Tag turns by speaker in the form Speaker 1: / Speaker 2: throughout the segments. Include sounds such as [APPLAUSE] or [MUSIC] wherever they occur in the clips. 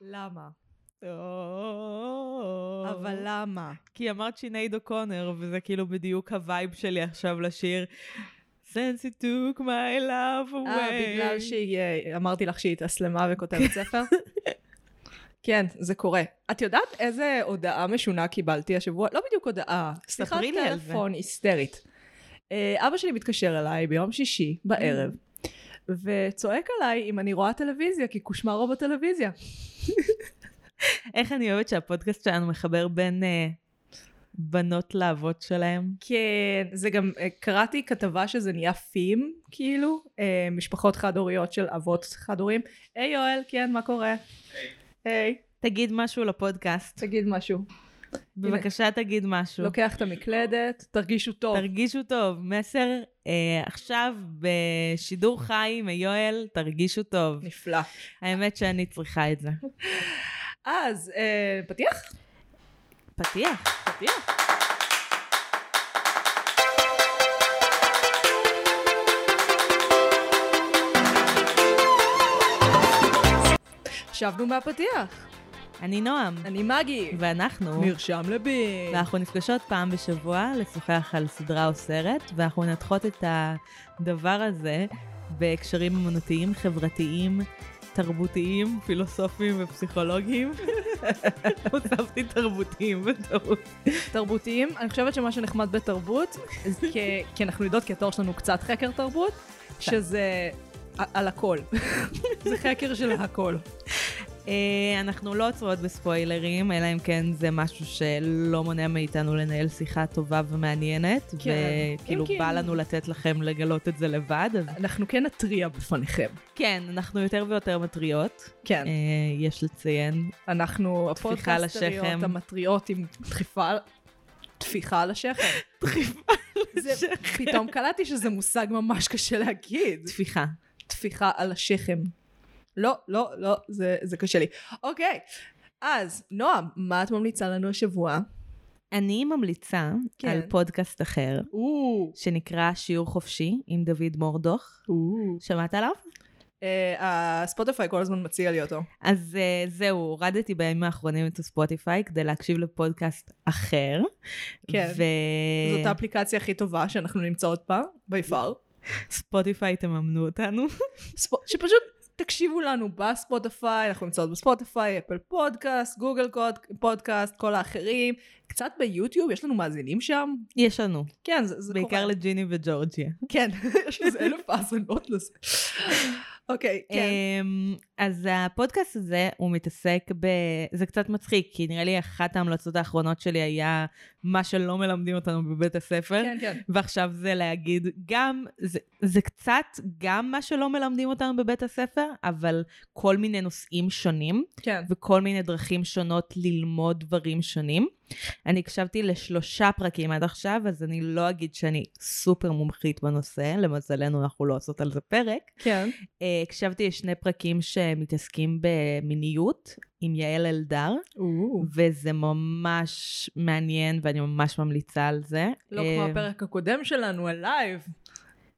Speaker 1: למה?
Speaker 2: אבל לא,
Speaker 1: אבל למה?
Speaker 2: כי אמרת שינייד אוקונר, וזה כאילו בדיוק הווייב שלי עכשיו לשיר. Since it took my love away.
Speaker 1: אה, בגלל שהיא, אה, אמרתי לך שהיא התאסלמה
Speaker 2: [LAUGHS]
Speaker 1: וכותבת ספר? כן, זה קורה. את יודעת איזה הודעה משונה קיבלתי השבוע? לא בדיוק הודעה, שיחת
Speaker 2: ספרי לי על זה.
Speaker 1: טלפון היסטרית. אה, אבא שלי מתקשר אליי ביום שישי בערב,
Speaker 2: Mm.
Speaker 1: וצועק עליי אם אני רואה טלוויזיה, כי קושמרו בטלוויזיה.
Speaker 2: איך אני אוהבת שהפודקאסט שלנו מחבר בין אה, בנות לאבות שלהם.
Speaker 1: כן, זה גם, אה, קראתי כתבה שזה נהיה פים, כאילו, אה, משפחות חד-הוריות של אבות חד-הוריים. היי יואל, כן, מה קורה? היי.
Speaker 2: תגיד משהו לפודקאסט.
Speaker 1: תגיד משהו.
Speaker 2: בבקשה תגיד משהו.
Speaker 1: לוקח את המקלדת, תרגישו טוב.
Speaker 2: תרגישו טוב. מסר אה, עכשיו בשידור חי עם יואל, תרגישו
Speaker 1: [LAUGHS]
Speaker 2: טוב.
Speaker 1: נפלא.
Speaker 2: האמת שאני צריכה את זה.
Speaker 1: אז, אה, פתיח?
Speaker 2: פתיח.
Speaker 1: פתיח. שבנו מהפתיח.
Speaker 2: אני נועם,
Speaker 1: אני מגי.
Speaker 2: ואנחנו...
Speaker 1: מרשם לבין.
Speaker 2: ואנחנו נפגשות פעם בשבוע לשוחח על סדרה או סרט, ואנחנו מנתחות את הדבר הזה בהקשרים אמנותיים, חברתיים, תרבותיים, פילוסופיים ופסיכולוגיים. [LAUGHS] הוספתי תרבותיים בטעות.
Speaker 1: תרבותיים, אני חושבת שמה שנחמד בתרבות, זה כ- כי אנחנו יודעות, כי התואר שלנו קצת חקר תרבות, שזה ע- על הכל. [LAUGHS] זה חקר של הכל.
Speaker 2: אה, אנחנו לא עוצרות בספוילרים, אלא אם כן זה משהו שלא מונע מאיתנו לנהל שיחה טובה ומעניינת,
Speaker 1: כן.
Speaker 2: וכאילו
Speaker 1: אם כי-
Speaker 2: בא לנו לתת לכם לגלות את זה לבד, אז
Speaker 1: אנחנו כן נתריע בפניכם.
Speaker 2: כן, אנחנו יותר ויותר מתריעות,
Speaker 1: כן.
Speaker 2: אה, יש לציין,
Speaker 1: אנחנו
Speaker 2: טפיחה על
Speaker 1: הפודקאסטריות
Speaker 2: השכם.
Speaker 1: המתריעות עם דחיפה, טפיחה על השכם.
Speaker 2: [LAUGHS] דחיפה
Speaker 1: זה- פתאום קלטתי שזה מושג ממש קשה להגיד.
Speaker 2: טפיחה.
Speaker 1: טפיחה על השכם. לא, לא, לא, זה, זה קשה לי. אוקיי, אז נועם, מה את ממליצה לנו השבוע?
Speaker 2: אני ממליצה
Speaker 1: כן.
Speaker 2: על פודקאסט אחר,
Speaker 1: או,
Speaker 2: שנקרא שיעור חופשי עם דוד מורדוך.
Speaker 1: או.
Speaker 2: שמעת עליו?
Speaker 1: אה, הספוטיפיי כל הזמן מציע לי אותו.
Speaker 2: אז אה, זהו, הורדתי בימים האחרונים את הספוטיפיי כדי להקשיב לפודקאסט אחר.
Speaker 1: כן.
Speaker 2: ו...
Speaker 1: זאת האפליקציה הכי טובה שאנחנו נמצאות בה, by far.
Speaker 2: ספוטיפיי תממנו אותנו.
Speaker 1: ספ- שפשוט תקשיבו לנו בספוטיפיי, אנחנו נמצאות בספוטיפיי, אפל פודקאסט, גוגל קוד- פודקאסט, כל האחרים. קצת ביוטיוב, יש לנו מאזינים שם?
Speaker 2: יש לנו,
Speaker 1: כן, זה, זה
Speaker 2: בעיקר
Speaker 1: קורה.
Speaker 2: לג'יני וג'ורג'יה.
Speaker 1: כן, [LAUGHS] יש איזה אלף האזנות לזה. אוקיי, כן.
Speaker 2: אמ, אז הפודקאסט הזה, הוא מתעסק ב... זה קצת מצחיק, כי נראה לי אחת ההמלצות האחרונות שלי היה מה שלא מלמדים אותנו בבית הספר.
Speaker 1: כן, כן.
Speaker 2: ועכשיו זה להגיד, גם, זה, זה קצת גם מה שלא מלמדים אותנו בבית הספר, אבל כל מיני נושאים שונים,
Speaker 1: כן.
Speaker 2: וכל מיני דרכים שונות ללמוד דברים שונים. אני הקשבתי לשלושה פרקים עד עכשיו, אז אני לא אגיד שאני סופר מומחית בנושא, למזלנו אנחנו לא עושות על זה פרק.
Speaker 1: כן.
Speaker 2: אה, הקשבתי לשני פרקים שמתעסקים במיניות, עם יעל אלדר, וזה ממש מעניין, ואני ממש ממליצה על זה.
Speaker 1: לא
Speaker 2: אה,
Speaker 1: כמו הפרק הקודם שלנו, הלייב.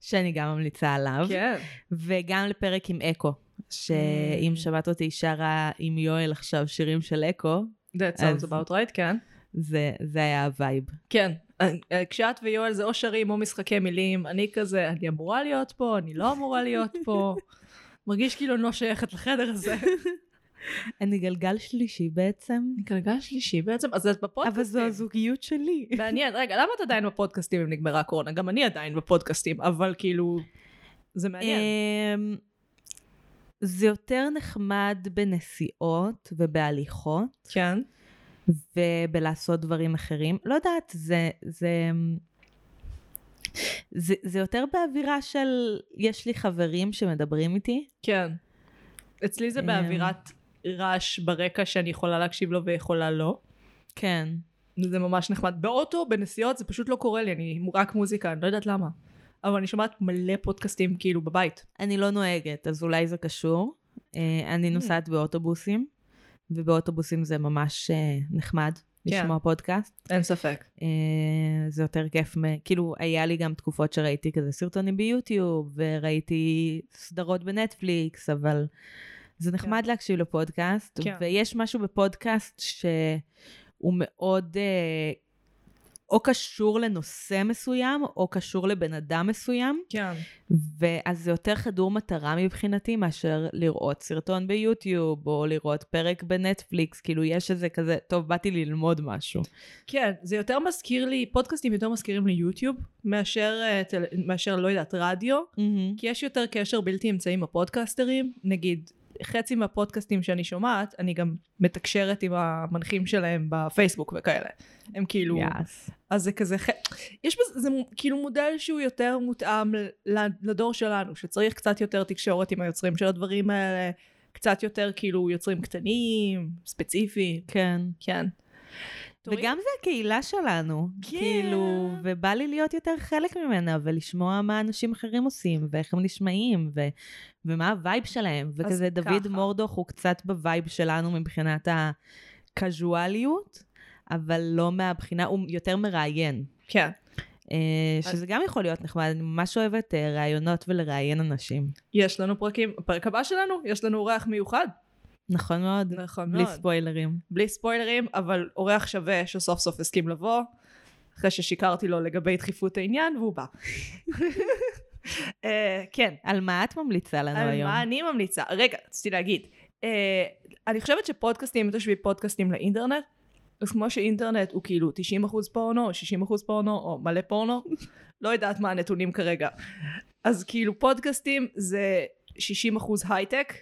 Speaker 2: שאני גם ממליצה עליו,
Speaker 1: כן.
Speaker 2: וגם לפרק עם אקו, שאם
Speaker 1: Mm.
Speaker 2: שמעת אותי שרה עם יואל עכשיו שירים של אקו,
Speaker 1: That
Speaker 2: אז-
Speaker 1: sounds about right, כן.
Speaker 2: זה, זה היה הווייב.
Speaker 1: כן. אה, כשאת ויואל זה או שרים או משחקי מילים, אני כזה, אני אמורה להיות פה, אני לא אמורה להיות
Speaker 2: [LAUGHS]
Speaker 1: פה. מרגיש כאילו אני לא שייכת לחדר הזה.
Speaker 2: אני גלגל שלישי בעצם,
Speaker 1: אני גלגל שלישי בעצם, אז את
Speaker 2: אבל זו [LAUGHS]
Speaker 1: בפודקאסטים.
Speaker 2: הזוגיות שלי.
Speaker 1: מעניין, רגע, למה את עדיין בפודקאסטים אם נגמרה הקורונה? גם אני עדיין בפודקאסטים, אבל כאילו, זה מעניין.
Speaker 2: אמ, זה יותר נחמד בנסיעות ובהליכות
Speaker 1: כן.
Speaker 2: ובלעשות דברים אחרים. לא יודעת, זה... זה... זה, זה יותר באווירה של יש לי חברים שמדברים איתי,
Speaker 1: כן. אצלי זה
Speaker 2: אמ.
Speaker 1: באווירת רעש ברקע שאני יכולה להקשיב לו ויכולה לא.
Speaker 2: כן.
Speaker 1: זה ממש נחמד. באוטו, בנסיעות, זה פשוט לא קורה לי, אני רק מוזיקה, אני לא יודעת למה. אבל אני שומעת מלא פודקאסטים כאילו בבית.
Speaker 2: אני לא נוהגת, אז אולי זה קשור. אה, אני נוסעת באוטובוסים, ובאוטובוסים זה ממש אה, נחמד לשמוע פודקאסט.
Speaker 1: אין ספק.
Speaker 2: אה, זה יותר כיף, מ- כאילו, היה לי גם תקופות שראיתי כזה סרטונים ביוטיוב, וראיתי סדרות בנטפליקס, אבל זה נחמד להקשיב לפודקאסט,
Speaker 1: כן.
Speaker 2: ויש משהו בפודקאסט שהוא מאוד... אה, או קשור לנושא מסוים, או קשור לבן אדם מסוים,
Speaker 1: כן.
Speaker 2: ואז זה יותר חדור מטרה מבחינתי מאשר לראות סרטון ביוטיוב, או לראות פרק בנטפליקס, כאילו יש איזה כזה, טוב, באתי ללמוד משהו.
Speaker 1: כן, זה יותר מזכיר לי, פודקאסטים יותר מזכירים לי יוטיוב, מאשר, אה, טל, מאשר לא יודעת, רדיו, כי יש יותר קשר בלתי אמצעי עם הפודקאסטרים, נגיד חצי מהפודקאסטים שאני שומעת, אני גם מתקשרת עם המנחים שלהם בפייסבוק וכאלה. הם כאילו, yeah.
Speaker 2: יאס.
Speaker 1: אז זה כזה, ח- יש בזה, זה מו- כאילו מודל שהוא יותר מותאם ל- לדור שלנו, שצריך קצת יותר תקשורת עם היוצרים של הדברים האלה, קצת יותר כאילו יוצרים קטנים, ספציפיים,
Speaker 2: כן.
Speaker 1: כן.
Speaker 2: וגם זה הקהילה שלנו,
Speaker 1: כן.
Speaker 2: כאילו, ובא לי להיות יותר חלק ממנה, ולשמוע מה אנשים אחרים עושים, ואיך הם נשמעים, ו- ומה הווייב שלהם, וכזה
Speaker 1: אז
Speaker 2: דוד
Speaker 1: ככה.
Speaker 2: מורדוך הוא קצת בווייב שלנו מבחינת הקזואליות, אבל לא מהבחינה, הוא יותר מראיין.
Speaker 1: כן.
Speaker 2: אה,
Speaker 1: אז-
Speaker 2: שזה גם יכול להיות נחמד, אני ממש אוהבת אה, ראיונות ולראיין אנשים.
Speaker 1: יש לנו פרקים, הפרק הבא שלנו, יש לנו אורח מיוחד.
Speaker 2: נכון מאוד,
Speaker 1: נכון
Speaker 2: בלי
Speaker 1: מאוד.
Speaker 2: ספוילרים.
Speaker 1: בלי ספוילרים, אבל אורח שווה שסוף סוף הסכים לבוא, אחרי ששיקרתי לו לגבי דחיפות העניין, והוא בא. [LAUGHS] אה, כן,
Speaker 2: על מה את ממליצה לנו
Speaker 1: על
Speaker 2: היום? [LAUGHS]
Speaker 1: מה אני ממליצה? רגע, רציתי להגיד. אה, אני חושבת שפודקאסטים, אם תשבי פודקאסטים לאינטרנט, אז כמו שאינטרנט הוא כאילו 90% פורנו, או 60% פורנו, או מלא פורנו, לא יודעת מה הנתונים כרגע. אז כאילו פודקאסטים זה 60% הייטק,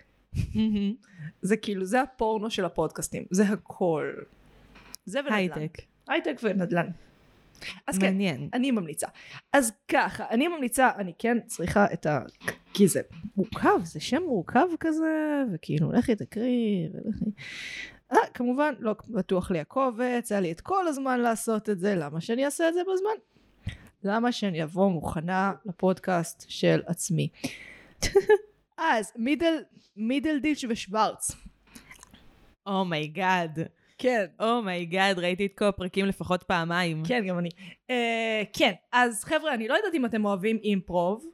Speaker 2: מהמם.
Speaker 1: זה כאילו, זה הפורנו של הפודקאסטים, זה הכל. זה ונדל"ן.
Speaker 2: הייטק.
Speaker 1: הייטק ונדל"ן. אז כן,
Speaker 2: מעניין.
Speaker 1: אני ממליצה. אז ככה, אני ממליצה, אני כן צריכה את ה... כי זה מורכב, זה שם מורכב כזה, וכאילו, לכי תקריא, ולכי... אה, כמובן, לא בטוח לי הקובץ, היה לי את כל הזמן לעשות את זה, למה שאני אעשה את זה בזמן? למה שאני אבוא מוכנה לפודקאסט של עצמי? [LAUGHS] אז מידל, מידל דיץ' ושוורץ.
Speaker 2: Oh אומייגאד.
Speaker 1: כן.
Speaker 2: אומייגאד, ראיתי את כל הפרקים לפחות פעמיים.
Speaker 1: [LAUGHS] כן, גם אני. אה, כן, אז חבר'ה, אני לא יודעת אם אתם אוהבים אימפרוב.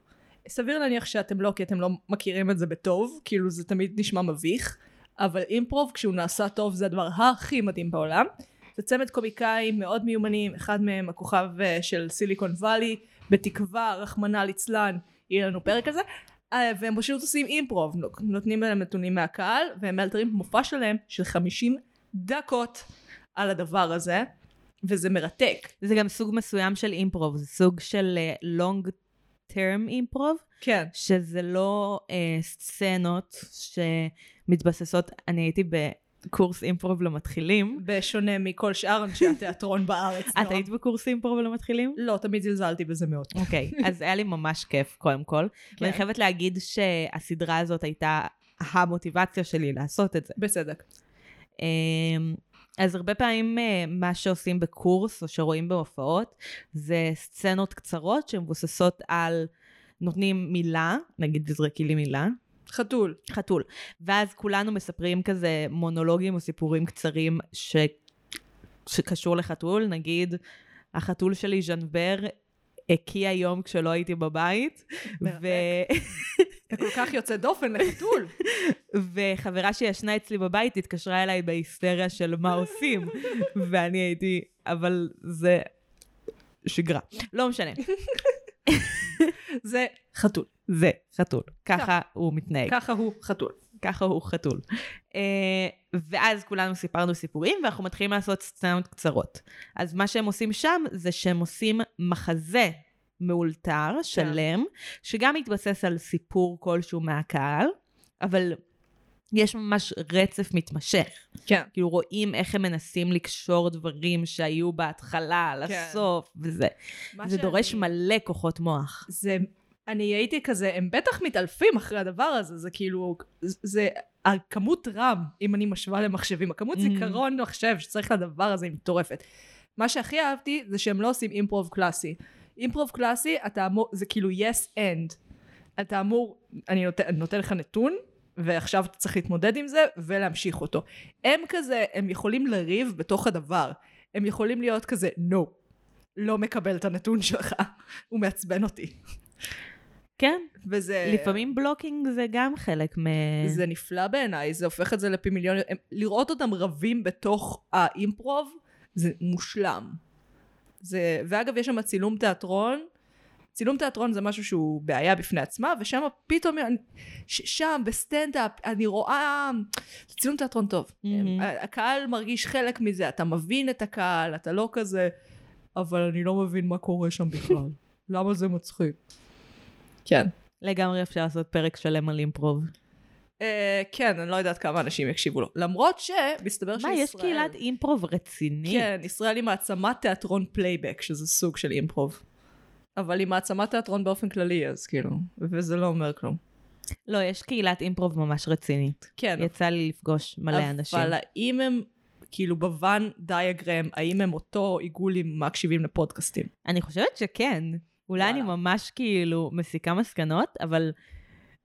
Speaker 1: סביר להניח שאתם לא, כי אתם לא מכירים את זה בטוב, כאילו זה תמיד נשמע מביך, אבל אימפרוב כשהוא נעשה טוב זה הדבר הכי מדהים בעולם. זה צמד קומיקאים מאוד מיומנים, אחד מהם הכוכב אה, של סיליקון וואלי, בתקווה, רחמנא ליצלן, יהיה לנו פרק על זה. אה, והם פשוט עושים אימפרוב, נו- נותנים להם נתונים מהקהל, והם מאלתרים מופע שלהם של 50 דקות על הדבר הזה, וזה מרתק.
Speaker 2: זה גם סוג מסוים של אימפרוב, זה סוג של אה, long term אימפרוב,
Speaker 1: כן.
Speaker 2: שזה לא אה, סצנות שמתבססות, אני הייתי בקורס אימפרוב למתחילים.
Speaker 1: בשונה מכל שאר אנשי התיאטרון בארץ.
Speaker 2: את
Speaker 1: נועה.
Speaker 2: היית בקורס אימפרוב למתחילים?
Speaker 1: לא, תמיד זלזלתי בזה מאוד. [LAUGHS]
Speaker 2: אוקיי, אז היה לי ממש כיף קודם כל. ואני
Speaker 1: כן.
Speaker 2: חייבת להגיד שהסדרה הזאת הייתה המוטיבציה שלי לעשות את זה.
Speaker 1: בצדק.
Speaker 2: אמ, אז הרבה פעמים אה, מה שעושים בקורס או שרואים בהופעות זה סצנות קצרות שמבוססות על, נותנים מילה, נגיד תזרקי לי מילה,
Speaker 1: חתול.
Speaker 2: חתול, ואז כולנו מספרים כזה מונולוגים או סיפורים קצרים ש... שקשור לחתול, נגיד החתול שלי ז'נבר הקיא היום כשלא הייתי בבית,
Speaker 1: מרתק.
Speaker 2: ו...
Speaker 1: אתה כל כך יוצא דופן לחתול.
Speaker 2: [LAUGHS] וחברה שישנה אצלי בבית התקשרה אליי בהיסטריה של מה עושים, ואני הייתי, אבל זה שגרה. לא משנה,
Speaker 1: זה חתול.
Speaker 2: זה חתול. ככה הוא מתנהג,
Speaker 1: ככה הוא חתול.
Speaker 2: ככה הוא חתול. אה, ואז כולנו סיפרנו סיפורים, ואנחנו מתחילים לעשות סצנות קצרות. אז מה שהם עושים שם, זה שהם עושים מחזה. מאולתר, שלם, שגם מתבסס על סיפור כלשהו מהקהל, אבל יש ממש רצף מתמשך.
Speaker 1: כן.
Speaker 2: כאילו רואים איך הם מנסים לקשור דברים שהיו בהתחלה, לסוף, וזה. זה דורש מלא כוחות מוח.
Speaker 1: זה... אני הייתי כזה, הם בטח מתעלפים אחרי הדבר הזה, זה כאילו, זה הכמות רם, אם אני משווה למחשבים, הכמות
Speaker 2: Mm.
Speaker 1: זיכרון מחשב שצריך לדבר הזה היא מטורפת. מה שהכי אהבתי זה שהם לא עושים אימפרוב קלאסי. אימפרוב קלאסי, אתה אמור, זה כאילו yes and. אתה אמור, אני נותן, אני נותן לך נתון, ועכשיו אתה צריך להתמודד עם זה ולהמשיך אותו. הם כזה, הם יכולים לריב בתוך הדבר. הם יכולים להיות כזה, no, לא מקבל את הנתון שלך, הוא מעצבן אותי.
Speaker 2: כן,
Speaker 1: וזה...
Speaker 2: לפעמים בלוקינג זה גם חלק מ...
Speaker 1: זה נפלא בעיניי, זה הופך את זה לפי מיליון... הם- לראות אותם רבים בתוך האימפרוב, זה מושלם. זה... ואגב, יש שם צילום תיאטרון. צילום תיאטרון זה משהו שהוא בעיה בפני עצמה, ושם פתאום, אני- ש- שם בסטנדאפ, אני רואה... צילום תיאטרון טוב.
Speaker 2: מהמם.
Speaker 1: ה- הקהל מרגיש חלק מזה, אתה מבין את הקהל, אתה לא כזה, אבל אני לא מבין מה קורה
Speaker 2: [LAUGHS]
Speaker 1: שם בכלל. למה זה מצחיק? כן.
Speaker 2: לגמרי אפשר לעשות פרק שלם על אימפרוב.
Speaker 1: אה, כן, אני לא יודעת כמה אנשים יקשיבו לו. למרות שמסתבר
Speaker 2: מה,
Speaker 1: שישראל...
Speaker 2: יש קהילת אימפרוב רצינית?
Speaker 1: לא כן, ישראל היא מעצמת תיאטרון פלייבק, שזה סוג של אימפרוב. אבל היא מעצמת תיאטרון באופן כללי, אז כאילו, וזה לא אומר כלום.
Speaker 2: לא, יש קהילת אימפרוב ממש רצינית.
Speaker 1: כן,
Speaker 2: יצא לי לפגוש מלא אנשים.
Speaker 1: אבל האם הם, כאילו, בוואן דיאגרם, האם הם אותו עיגול עם מקשיבים לפודקאסטים?
Speaker 2: אני חושבת שכן. אולי אני
Speaker 1: וואלה. ממש
Speaker 2: ממש כאילו מסיקה מסקנות, אבל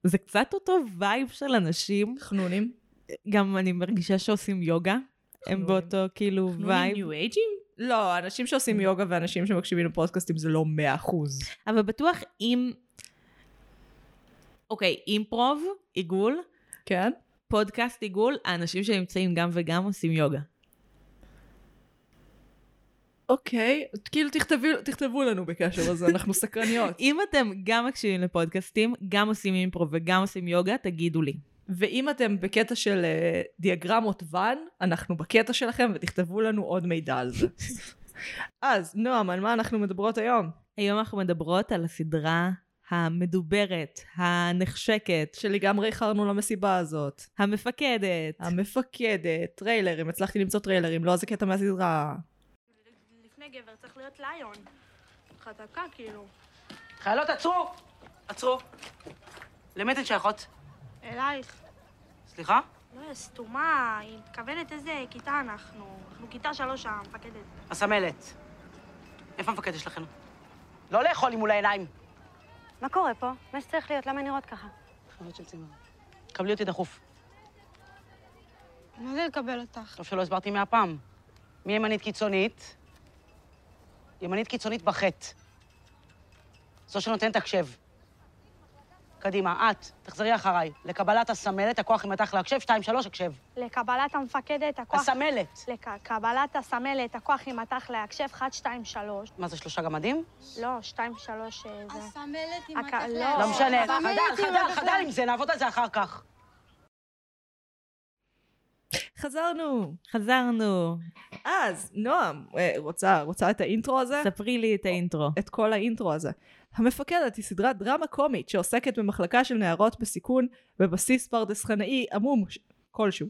Speaker 2: זה קצת אותו וייב של אנשים.
Speaker 1: חנונים?
Speaker 2: גם אני מרגישה שעושים יוגה. הם
Speaker 1: חנונים.
Speaker 2: באותו כאילו וייב.
Speaker 1: ניו אייג'ים? לא, אנשים
Speaker 2: Mm.
Speaker 1: שעושים יוגה ואנשים שמקשיבים לפודקאסטים זה לא מאה אחוז.
Speaker 2: אבל בטוח אם... אוקיי, אימפרוב, עיגול,
Speaker 1: כן?
Speaker 2: פודקאסט עיגול, האנשים שנמצאים גם וגם עושים יוגה.
Speaker 1: אוקיי, כאילו תכתבו, תכתבו לנו בקשר לזה, אנחנו סקרניות.
Speaker 2: אם אתם גם מקשיבים לפודקאסטים, גם עושים אימפרוב וגם עושים יוגה, תגידו לי.
Speaker 1: ואם אתם בקטע של אה, דיאגרמות ואן, אנחנו בקטע שלכם ותכתבו לנו עוד מידע על זה. אז, נועם, על מה אנחנו מדברות היום?
Speaker 2: היום אנחנו מדברות על הסדרה המדוברת, הנחשקת,
Speaker 1: שלגמרי איחרנו למסיבה הזאת.
Speaker 2: המפקדת.
Speaker 1: המפקדת, טריילרים, הצלחתי למצוא טריילרים, לא איזה קטע מהסדרה.
Speaker 3: לפני גבר צריך להיות ליון. חזקה כאילו.
Speaker 4: חיילות, עצרו! עצרו. למי אתן שייכות?
Speaker 3: אלייך.
Speaker 4: סליחה?
Speaker 3: לא, היא סתומה, היא מתכוונת איזה כיתה אנחנו. אנחנו כיתה שלוש המפקדת.
Speaker 4: הסמלת. איפה המפקדת שלכם? לא לאכול לי מול העיניים.
Speaker 5: מה קורה פה? מה שצריך להיות, למה נראות ככה?
Speaker 4: חיילות של צימר. קבלי אותי דחוף.
Speaker 3: מה זה לקבל אותך?
Speaker 4: טוב שלא הסברתי מהפעם. מי ימנית קיצונית? ימנית קיצונית בחטא. זו שנותנת הקשב. קדימה, את, תחזרי אחריי. לקבלת הסמלת, הכוח ימתח להקשב, שתיים, שלוש, הקשב.
Speaker 3: לקבלת המפקדת, הכוח...
Speaker 4: הסמלת.
Speaker 3: לקבלת הסמלת, הכוח יימתח להקשב 1, 2, 3.
Speaker 4: מה זה, שלושה גמדים?
Speaker 3: לא, 2, 3 זה...
Speaker 5: הסמלת
Speaker 3: עם הכ- הכחלת. לא.
Speaker 4: לא משנה,
Speaker 5: אבל מי
Speaker 4: חדל,
Speaker 5: יתאים
Speaker 4: חדל,
Speaker 5: לך
Speaker 4: חדל עם זה, נעבוד על זה אחר כך.
Speaker 1: חזרנו.
Speaker 2: חזרנו,
Speaker 1: אז, נועם, אה, רוצה, רוצה את האינטרו הזה?
Speaker 2: ספרי לי
Speaker 1: אה,
Speaker 2: את האינטרו.
Speaker 1: את כל האינטרו הזה. המפקדת היא סדרת דרמה קומית שעוסקת במחלקה של נערות בסיכון בבסיס פרדס חנאי עמום ש- כלשהו.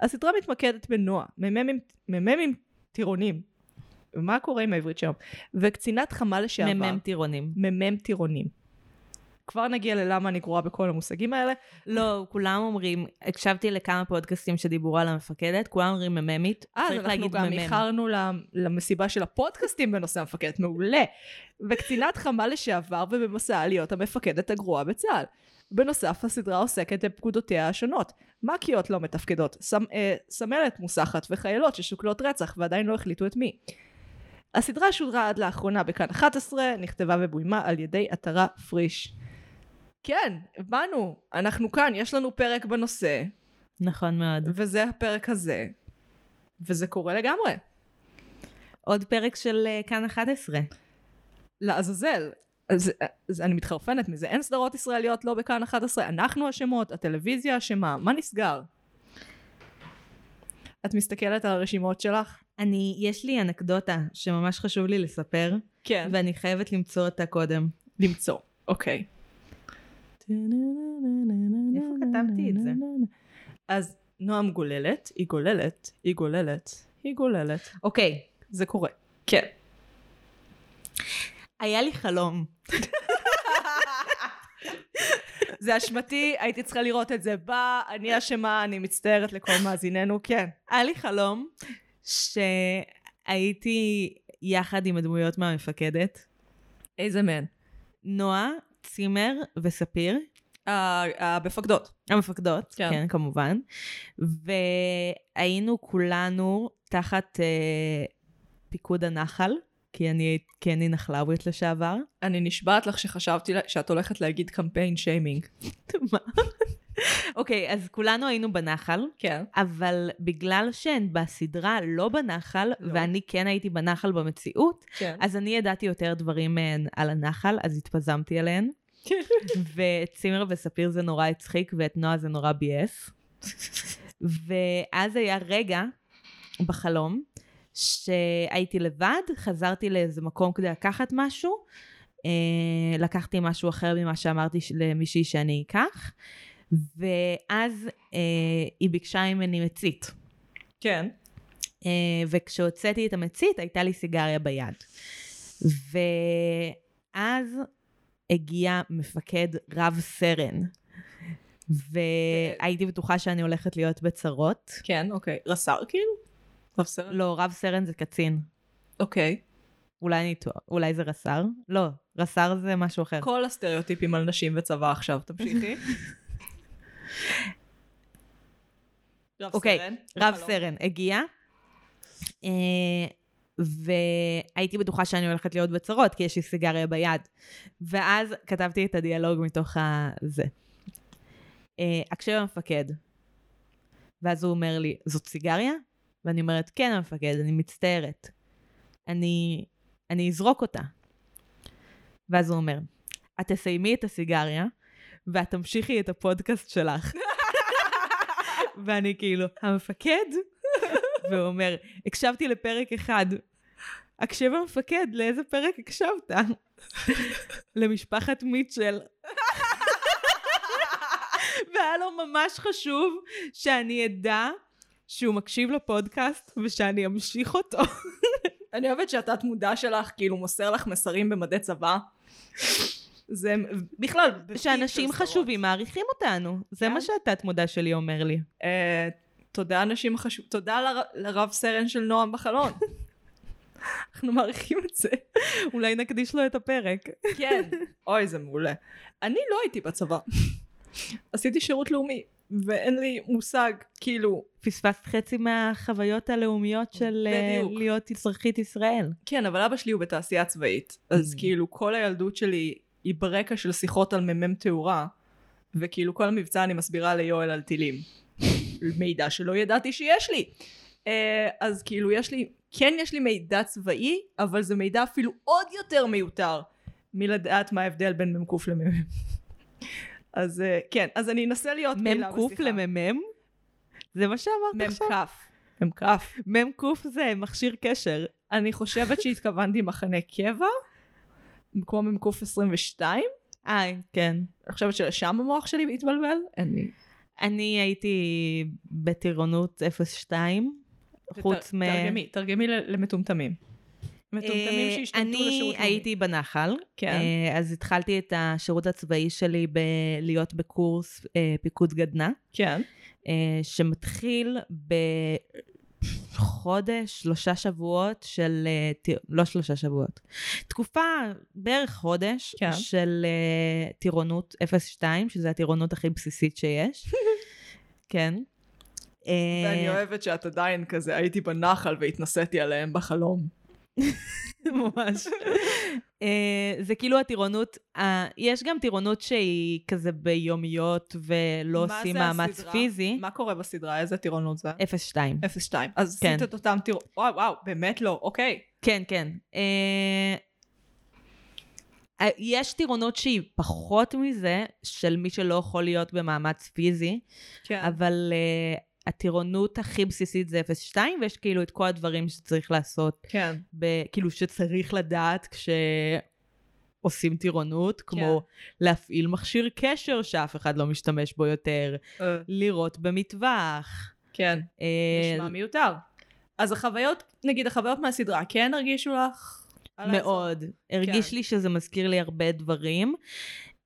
Speaker 1: הסדרה מתמקדת בנועה, מ"מים מ"מים טירונים, מה קורה עם העברית שם? וקצינת חמ"ל לשעבר,
Speaker 2: מ"מ טירונים.
Speaker 1: מ"מ טירונים. כבר נגיע ללמה אני גרועה בכל המושגים האלה.
Speaker 2: לא, כולם אומרים, הקשבתי לכמה פודקאסטים שדיברו על המפקדת, כולם אומרים מ"מית,
Speaker 1: אה, אז
Speaker 2: צריך
Speaker 1: אנחנו
Speaker 2: להגיד
Speaker 1: גם
Speaker 2: מ"מ.
Speaker 1: איחרנו ל- למסיבה של הפודקאסטים בנושא המפקדת, מעולה. וקצינת חמ"ל לשעבר ובמסעה להיות המפקדת הגרועה בצה"ל. בנוסף, הסדרה עוסקת בפקודותיה השונות. מ"כיות לא מתפקדות, סמ, אה, סמלת מוסחת וחיילות ששוקלות רצח ועדיין לא החליטו את מי. הסדרה שודרה עד לאחרונה בכאן 11, נכתבה ובוימה על ידי עטרה פריש. כן, באנו, אנחנו כאן, יש לנו פרק בנושא,
Speaker 2: נכון מאוד.
Speaker 1: וזה הפרק הזה, וזה קורה לגמרי.
Speaker 2: עוד פרק של אה, כאן 11.
Speaker 1: לעזאזל. אז, אז אני מתחרפנת מזה, אין סדרות ישראליות לא בכאן 11, אנחנו אשמות, הטלוויזיה אשמה, מה נסגר? את מסתכלת על הרשימות שלך?
Speaker 2: אני, יש לי אנקדוטה שממש חשוב לי לספר,
Speaker 1: כן.
Speaker 2: ואני חייבת למצוא אותה קודם.
Speaker 1: למצוא, אוקיי. איפה
Speaker 2: כתבתי את זה?
Speaker 1: אז נועם גוללת, היא גוללת, היא גוללת, היא גוללת.
Speaker 2: אוקיי,
Speaker 1: זה קורה. כן.
Speaker 2: היה לי חלום.
Speaker 1: זה אשמתי, הייתי צריכה לראות את זה בא, אני אשמה, אני מצטערת לכל מאזיננו, כן.
Speaker 2: היה לי חלום שהייתי יחד עם הדמויות מהמפקדת,
Speaker 1: איזה מהן?
Speaker 2: נועה, צימר וספיר,
Speaker 1: המפקדות.
Speaker 2: המפקדות,
Speaker 1: כן.
Speaker 2: כן, כן כמובן, והיינו כולנו תחת אה, פיקוד הנחל, כי אני, כי אני נחלאווית לשעבר. [LAUGHS]
Speaker 1: אני נשבעת לך שחשבתי לה- שאת הולכת להגיד קמפיין שיימינג.
Speaker 2: מה? אוקיי, אז כולנו היינו בנחל,
Speaker 1: כן.
Speaker 2: אבל בגלל שהן בסדרה לא בנחל,
Speaker 1: לא.
Speaker 2: ואני כן הייתי בנחל במציאות,
Speaker 1: כן.
Speaker 2: אז אני ידעתי יותר דברים מהן על הנחל, אז התפזמתי עליהן. ואת צימר וספיר זה נורא הצחיק, ואת נועה זה נורא ביאס. ואז היה רגע בחלום שהייתי לבד, חזרתי לאיזה מקום כדי לקחת משהו, אה, לקחתי משהו אחר ממה שאמרתי ש- למישהי שאני אקח, ואז אה, היא ביקשה ממני מצית.
Speaker 1: כן.
Speaker 2: אה, וכשהוצאתי את המצית הייתה לי סיגריה ביד. ואז הגיע מפקד רב סרן, והייתי בטוחה שאני הולכת להיות בצרות.
Speaker 1: כן, אוקיי. רס"ר כאילו? רב סרן?
Speaker 2: לא, רב סרן זה קצין.
Speaker 1: אוקיי.
Speaker 2: אולי אני טועה, אולי זה רס"ר? לא, רס"ר זה משהו אחר.
Speaker 1: כל הסטריאוטיפים על נשים וצבא עכשיו, תמשיכי. [LAUGHS] רב
Speaker 2: אוקיי,
Speaker 1: סרן?
Speaker 2: רב
Speaker 1: בחלום.
Speaker 2: סרן הגיע, אה, והייתי בטוחה שאני הולכת להיות בצרות, כי יש לי סיגריה ביד. ואז כתבתי את הדיאלוג מתוך ה... זה. אה, הקשב המפקד. ואז הוא אומר לי, זאת סיגריה? ואני אומרת, כן המפקד, אני מצטערת. אני, אני אזרוק אותה. ואז הוא אומר, את תסיימי את הסיגריה, ואת תמשיכי את הפודקאסט שלך. ואני כאילו, המפקד? [LAUGHS] והוא אומר, הקשבתי לפרק אחד. הקשב המפקד, לאיזה פרק הקשבת? [LAUGHS] למשפחת מיטשל. [LAUGHS] והיה לו ממש חשוב שאני אדע שהוא מקשיב לפודקאסט ושאני אמשיך [LAUGHS] אותו.
Speaker 1: אני אוהבת שהתת מודע שלך כאילו מוסר לך מסרים במדי צבא. זה בכלל... בפיק של
Speaker 2: שאנשים
Speaker 1: סדרות.
Speaker 2: חשובים מעריכים אותנו. זה
Speaker 1: כן.
Speaker 2: מה שהתת מודע שלי אומר לי.
Speaker 1: אה, תודה אנשים החשוב... תודה לר- לרב סרן של נועם [LAUGHS] בחלון. אנחנו מעריכים את זה.
Speaker 2: אולי נקדיש לו את הפרק.
Speaker 1: כן. אוי, זה מעולה. אני לא הייתי בצבא. עשיתי שירות לאומי, ואין לי מושג, כאילו...
Speaker 2: פספסת חצי מהחוויות הלאומיות של אה,
Speaker 1: בדיוק.
Speaker 2: להיות אזרחית ישראל.
Speaker 1: כן, אבל אבא שלי הוא בתעשייה צבאית, אז
Speaker 2: Mm.
Speaker 1: כאילו כל הילדות שלי היא ברקע של שיחות על מ"מ תאורה, וכאילו כל המבצע אני מסבירה ליואל על טילים. מידע שלא ידעתי שיש לי. אה, אז כאילו יש לי, כן יש לי מידע צבאי, אבל זה מידע אפילו עוד יותר מיותר מלדעת מה ההבדל בין מ"ק למ"מ. אז אה, כן, אז אני אנסה להיות פעילה
Speaker 2: מ"ק
Speaker 1: בשיחה.
Speaker 2: למ"מ? זה מה שאמרת עכשיו?
Speaker 1: מ"ק.
Speaker 2: מ"ק
Speaker 1: מ"ק.
Speaker 2: זה מכשיר קשר.
Speaker 1: אני חושבת שהתכוונתי מחנה קבע, כמו מ"ק 22.
Speaker 2: אה, כן.
Speaker 1: אני חושבת שלשם המוח שלי התבלבל. אני...
Speaker 2: אני הייתי בטירונות 02, חוץ מ...
Speaker 1: תרגמי, תרגמי ל- למטומטמים. מטומטמים
Speaker 2: אה,
Speaker 1: שהשתלטו לשירות לאומי.
Speaker 2: אני הייתי בנחל,
Speaker 1: כן.
Speaker 2: אה, אז התחלתי את השירות הצבאי שלי בלהיות בקורס אה, פיקוד גדנ"ע,
Speaker 1: כן.
Speaker 2: אה, שמתחיל בחודש, שלושה שבועות של, אה, טי- לא שלושה שבועות, תקופה, בערך חודש,
Speaker 1: כן.
Speaker 2: של אה, טירונות 02, שזה הטירונות הכי בסיסית
Speaker 1: [LAUGHS]
Speaker 2: שיש. כן. אה,
Speaker 1: ואני אוהבת שאת עדיין כזה, הייתי בנחל והתנסיתי עליהם בחלום.
Speaker 2: ממש. [LAUGHS] אה, זה כאילו הטירונות, אה, יש גם טירונות שהיא כזה ביומיות ולא
Speaker 1: מה
Speaker 2: עושים
Speaker 1: זה
Speaker 2: מאמץ
Speaker 1: הסדרה?
Speaker 2: פיזי.
Speaker 1: מה קורה בסדרה? איזה טירונות זה?
Speaker 2: 0-2.
Speaker 1: 0-2. אז
Speaker 2: כן.
Speaker 1: עשית את אותם טירונות. וואו, וואו, באמת לא, אוקיי.
Speaker 2: כן, כן. אה, אה, יש טירונות שהיא פחות מזה, של מי שלא יכול להיות במאמץ פיזי,
Speaker 1: כן.
Speaker 2: אבל אה, הטירונות הכי בסיסית זה 0-2, ויש כאילו את כל הדברים שצריך לעשות
Speaker 1: כן.
Speaker 2: ב- כאילו שצריך לדעת כשעושים טירונות, כמו להפעיל מכשיר קשר שאף אחד לא משתמש בו יותר,
Speaker 1: אה,
Speaker 2: לירות במטווח.
Speaker 1: כן.
Speaker 2: אה,
Speaker 1: נשמע מיותר. אז החוויות, נגיד החוויות מהסדרה, כן הרגישו לך? על האזור?
Speaker 2: מאוד. הרגיש
Speaker 1: כן.
Speaker 2: לי שזה מזכיר לי הרבה דברים.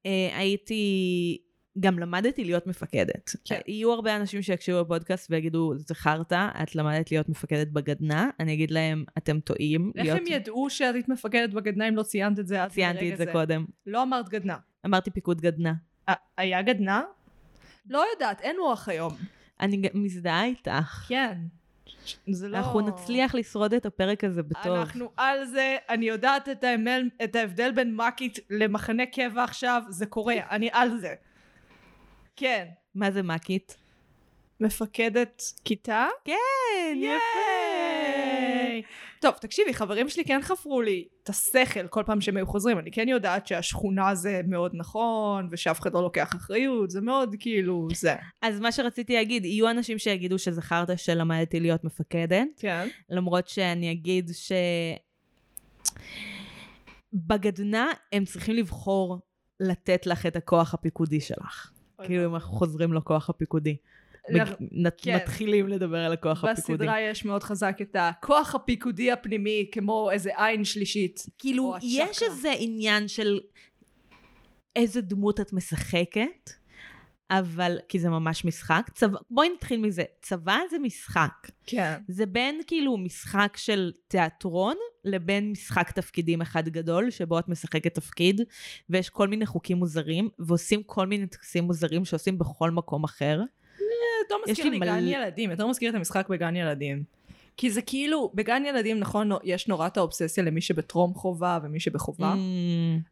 Speaker 2: אה, הייתי... גם למדתי להיות מפקדת.
Speaker 1: כן.
Speaker 2: יהיו הרבה אנשים שיקשיבו לפודקאסט ויגידו, זה חרטא, את למדת להיות מפקדת בגדנ"ע. אני אגיד להם, אתם טועים.
Speaker 1: איך
Speaker 2: להיות-
Speaker 1: הם ידעו שאת היית מפקדת בגדנ"ע אם לא ציינת את זה עד
Speaker 2: ציינתי
Speaker 1: לרגע
Speaker 2: את זה קודם.
Speaker 1: לא אמרת גדנ"ע.
Speaker 2: אמרתי פיקוד גדנ"ע.
Speaker 1: אה, היה גדנ"ע? לא יודעת, אין מוח היום.
Speaker 2: אני גם מזדהה איתך.
Speaker 1: כן. זה לא...
Speaker 2: אנחנו נצליח לשרוד את הפרק הזה בטוב.
Speaker 1: אנחנו על זה, אני יודעת את, ההמל, את ההבדל בין מקית למחנה קבע עכשיו, זה קורה, אני על זה. כן.
Speaker 2: מה זה מקית?
Speaker 1: מפקדת כיתה?
Speaker 2: כן,
Speaker 1: ייי! טוב, תקשיבי, חברים שלי כן חפרו לי את השכל כל פעם שהם היו חוזרים. אני כן יודעת שהשכונה זה מאוד נכון, ושאף אחד לא לוקח אחריות, זה מאוד כאילו, זה.
Speaker 2: אז מה שרציתי להגיד, יהיו אנשים שיגידו שזכרת שלמדתי להיות מפקדת,
Speaker 1: כן.
Speaker 2: למרות שאני אגיד ש... בגדנה הם צריכים לבחור לתת לך את הכוח הפיקודי שלך. כאילו אם אנחנו חוזרים לכוח הפיקודי.
Speaker 1: אנחנו-
Speaker 2: מג- נת-
Speaker 1: לא. כן.
Speaker 2: מתחילים לדבר על הכוח הפיקודי.
Speaker 1: בסדרה יש מאוד חזק את הכוח הפיקודי הפנימי, כמו איזה עין שלישית.
Speaker 2: כאילו,
Speaker 1: או הצ'קרה.
Speaker 2: יש איזה עניין של איזה דמות את משחקת, אבל, כי זה ממש משחק. צבא, בואי נתחיל מזה. צבא זה משחק.
Speaker 1: כן.
Speaker 2: זה בין כאילו משחק של תיאטרון לבין משחק תפקידים אחד גדול, שבו את משחקת תפקיד, ויש כל מיני חוקים מוזרים, ועושים כל מיני טקסים מוזרים שעושים בכל מקום אחר.
Speaker 1: יותר
Speaker 2: יש
Speaker 1: מזכיר
Speaker 2: לי
Speaker 1: לי
Speaker 2: מלא-
Speaker 1: גן ילדים, יותר מזכיר את המשחק בגן ילדים. כי זה כאילו, בגן ילדים, נכון, נו- יש נורא את האובססיה למי שבטרום חובה ומי שבחובה.
Speaker 2: Mm,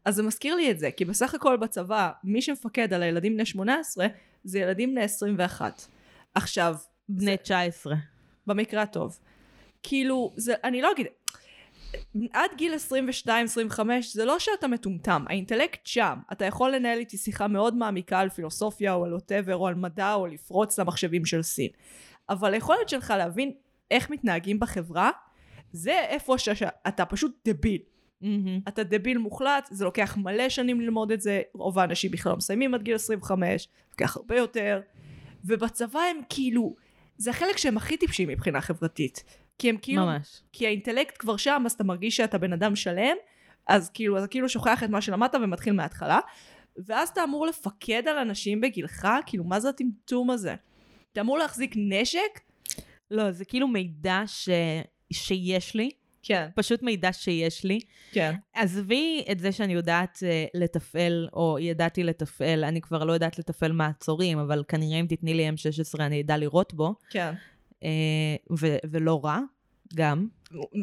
Speaker 1: אז זה מזכיר לי את זה, כי בסך הכל בצבא, מי שמפקד על הילדים בני 18, זה ילדים בני 21. עכשיו,
Speaker 2: בני 19.
Speaker 1: במקרה הטוב. כאילו, זה, אני לא אגיד... עד גיל 22-25 זה לא שאתה מטומטם, האינטלקט שם. אתה יכול לנהל איתי שיחה מאוד מעמיקה על פילוסופיה או על ווטאבר או על מדע או לפרוץ למחשבים של סין. אבל היכולת שלך להבין איך מתנהגים בחברה, זה איפה שאתה פשוט דביל.
Speaker 2: מהמם.
Speaker 1: אתה דביל מוחלט, זה לוקח מלא שנים ללמוד את זה, רוב האנשים בכלל לא מסיימים עד גיל 25, לוקח הרבה יותר, ובצבא הם כאילו, זה החלק שהם הכי טיפשים מבחינה חברתית, כי הם כאילו,
Speaker 2: ממש.
Speaker 1: כי האינטלקט כבר שם, אז אתה מרגיש שאתה בן אדם שלם, אז כאילו, אתה כאילו שוכח את מה שלמדת ומתחיל מההתחלה, ואז אתה אמור לפקד על אנשים בגילך, כאילו, מה זה הטמטום הזה? אתה אמור להחזיק נשק?
Speaker 2: לא, זה כאילו מידע ש... שיש לי,
Speaker 1: כן,
Speaker 2: פשוט מידע שיש לי.
Speaker 1: כן.
Speaker 2: עזבי את זה שאני יודעת אה, לתפעל, או ידעתי לתפעל, אני כבר לא יודעת לתפעל מעצורים, אבל כנראה אם תתני לי M16 אני אדע לירות בו,
Speaker 1: כן.
Speaker 2: אה, ו- ולא רע, גם.